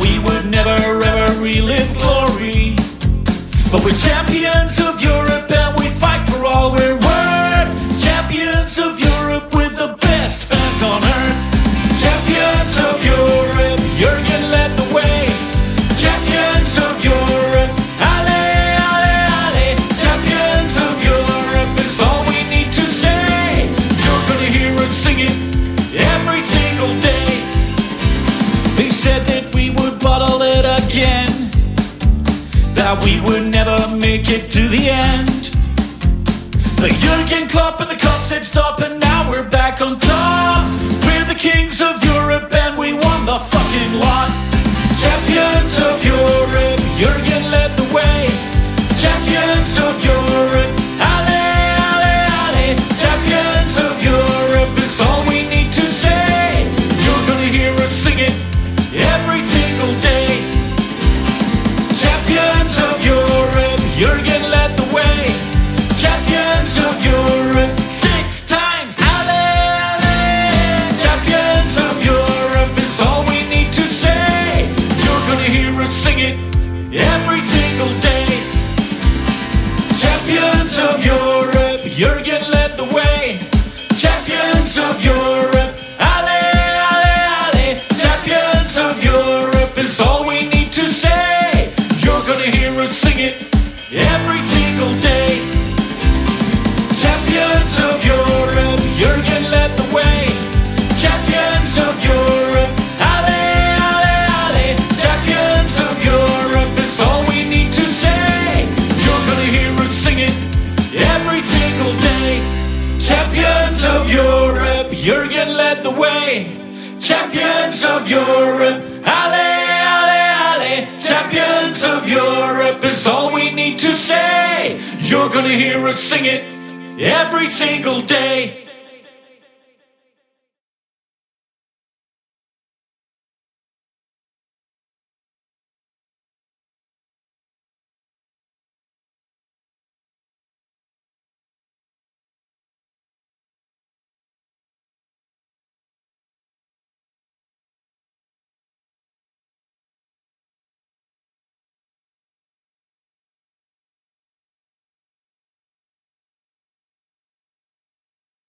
[SPEAKER 13] we would never ever relive glory. But we're champions of Europe and we fight for all we're worth. Champions of Europe with the best fans on earth. Champions of Europe, Jurgen led the way. Champions of Europe, ale, ale, ale. Champions of Europe is all we need to say. You're gonna hear us singing every single day. They said that we would bottle it again that we would never make it to the end. The Jurgen Klopp and the Klopp said stop, and now we're back on top. We're the kings of Europe, and we won the fucking lot. Champions of Europe, Jurgen led the way. Champions of Europe, ale, ale, ale. Champions of Europe is all we need to say. You're gonna hear us sing it every single day. Champions of Europe, Jurgen led the way. Champions of Europe, six times. Ale, ale. Champions of Europe is all we need to say. You're gonna hear us sing it every single day. Champions of Europe, Jurgen led the way. Champions of Europe, ale, ale, ale. Champions of Europe is all we need to say. You're gonna hear us sing it every single day. Champions of Europe, Jurgen led the way. Champions of Europe, ale, ale, ale. Champions of Europe is all we need to say. You're gonna hear us sing it every single day. Champions of Europe, Jurgen led the way. Champions of Europe, ale, ale, ale. Champions of Europe is all we need to say. You're gonna hear us sing it every single day.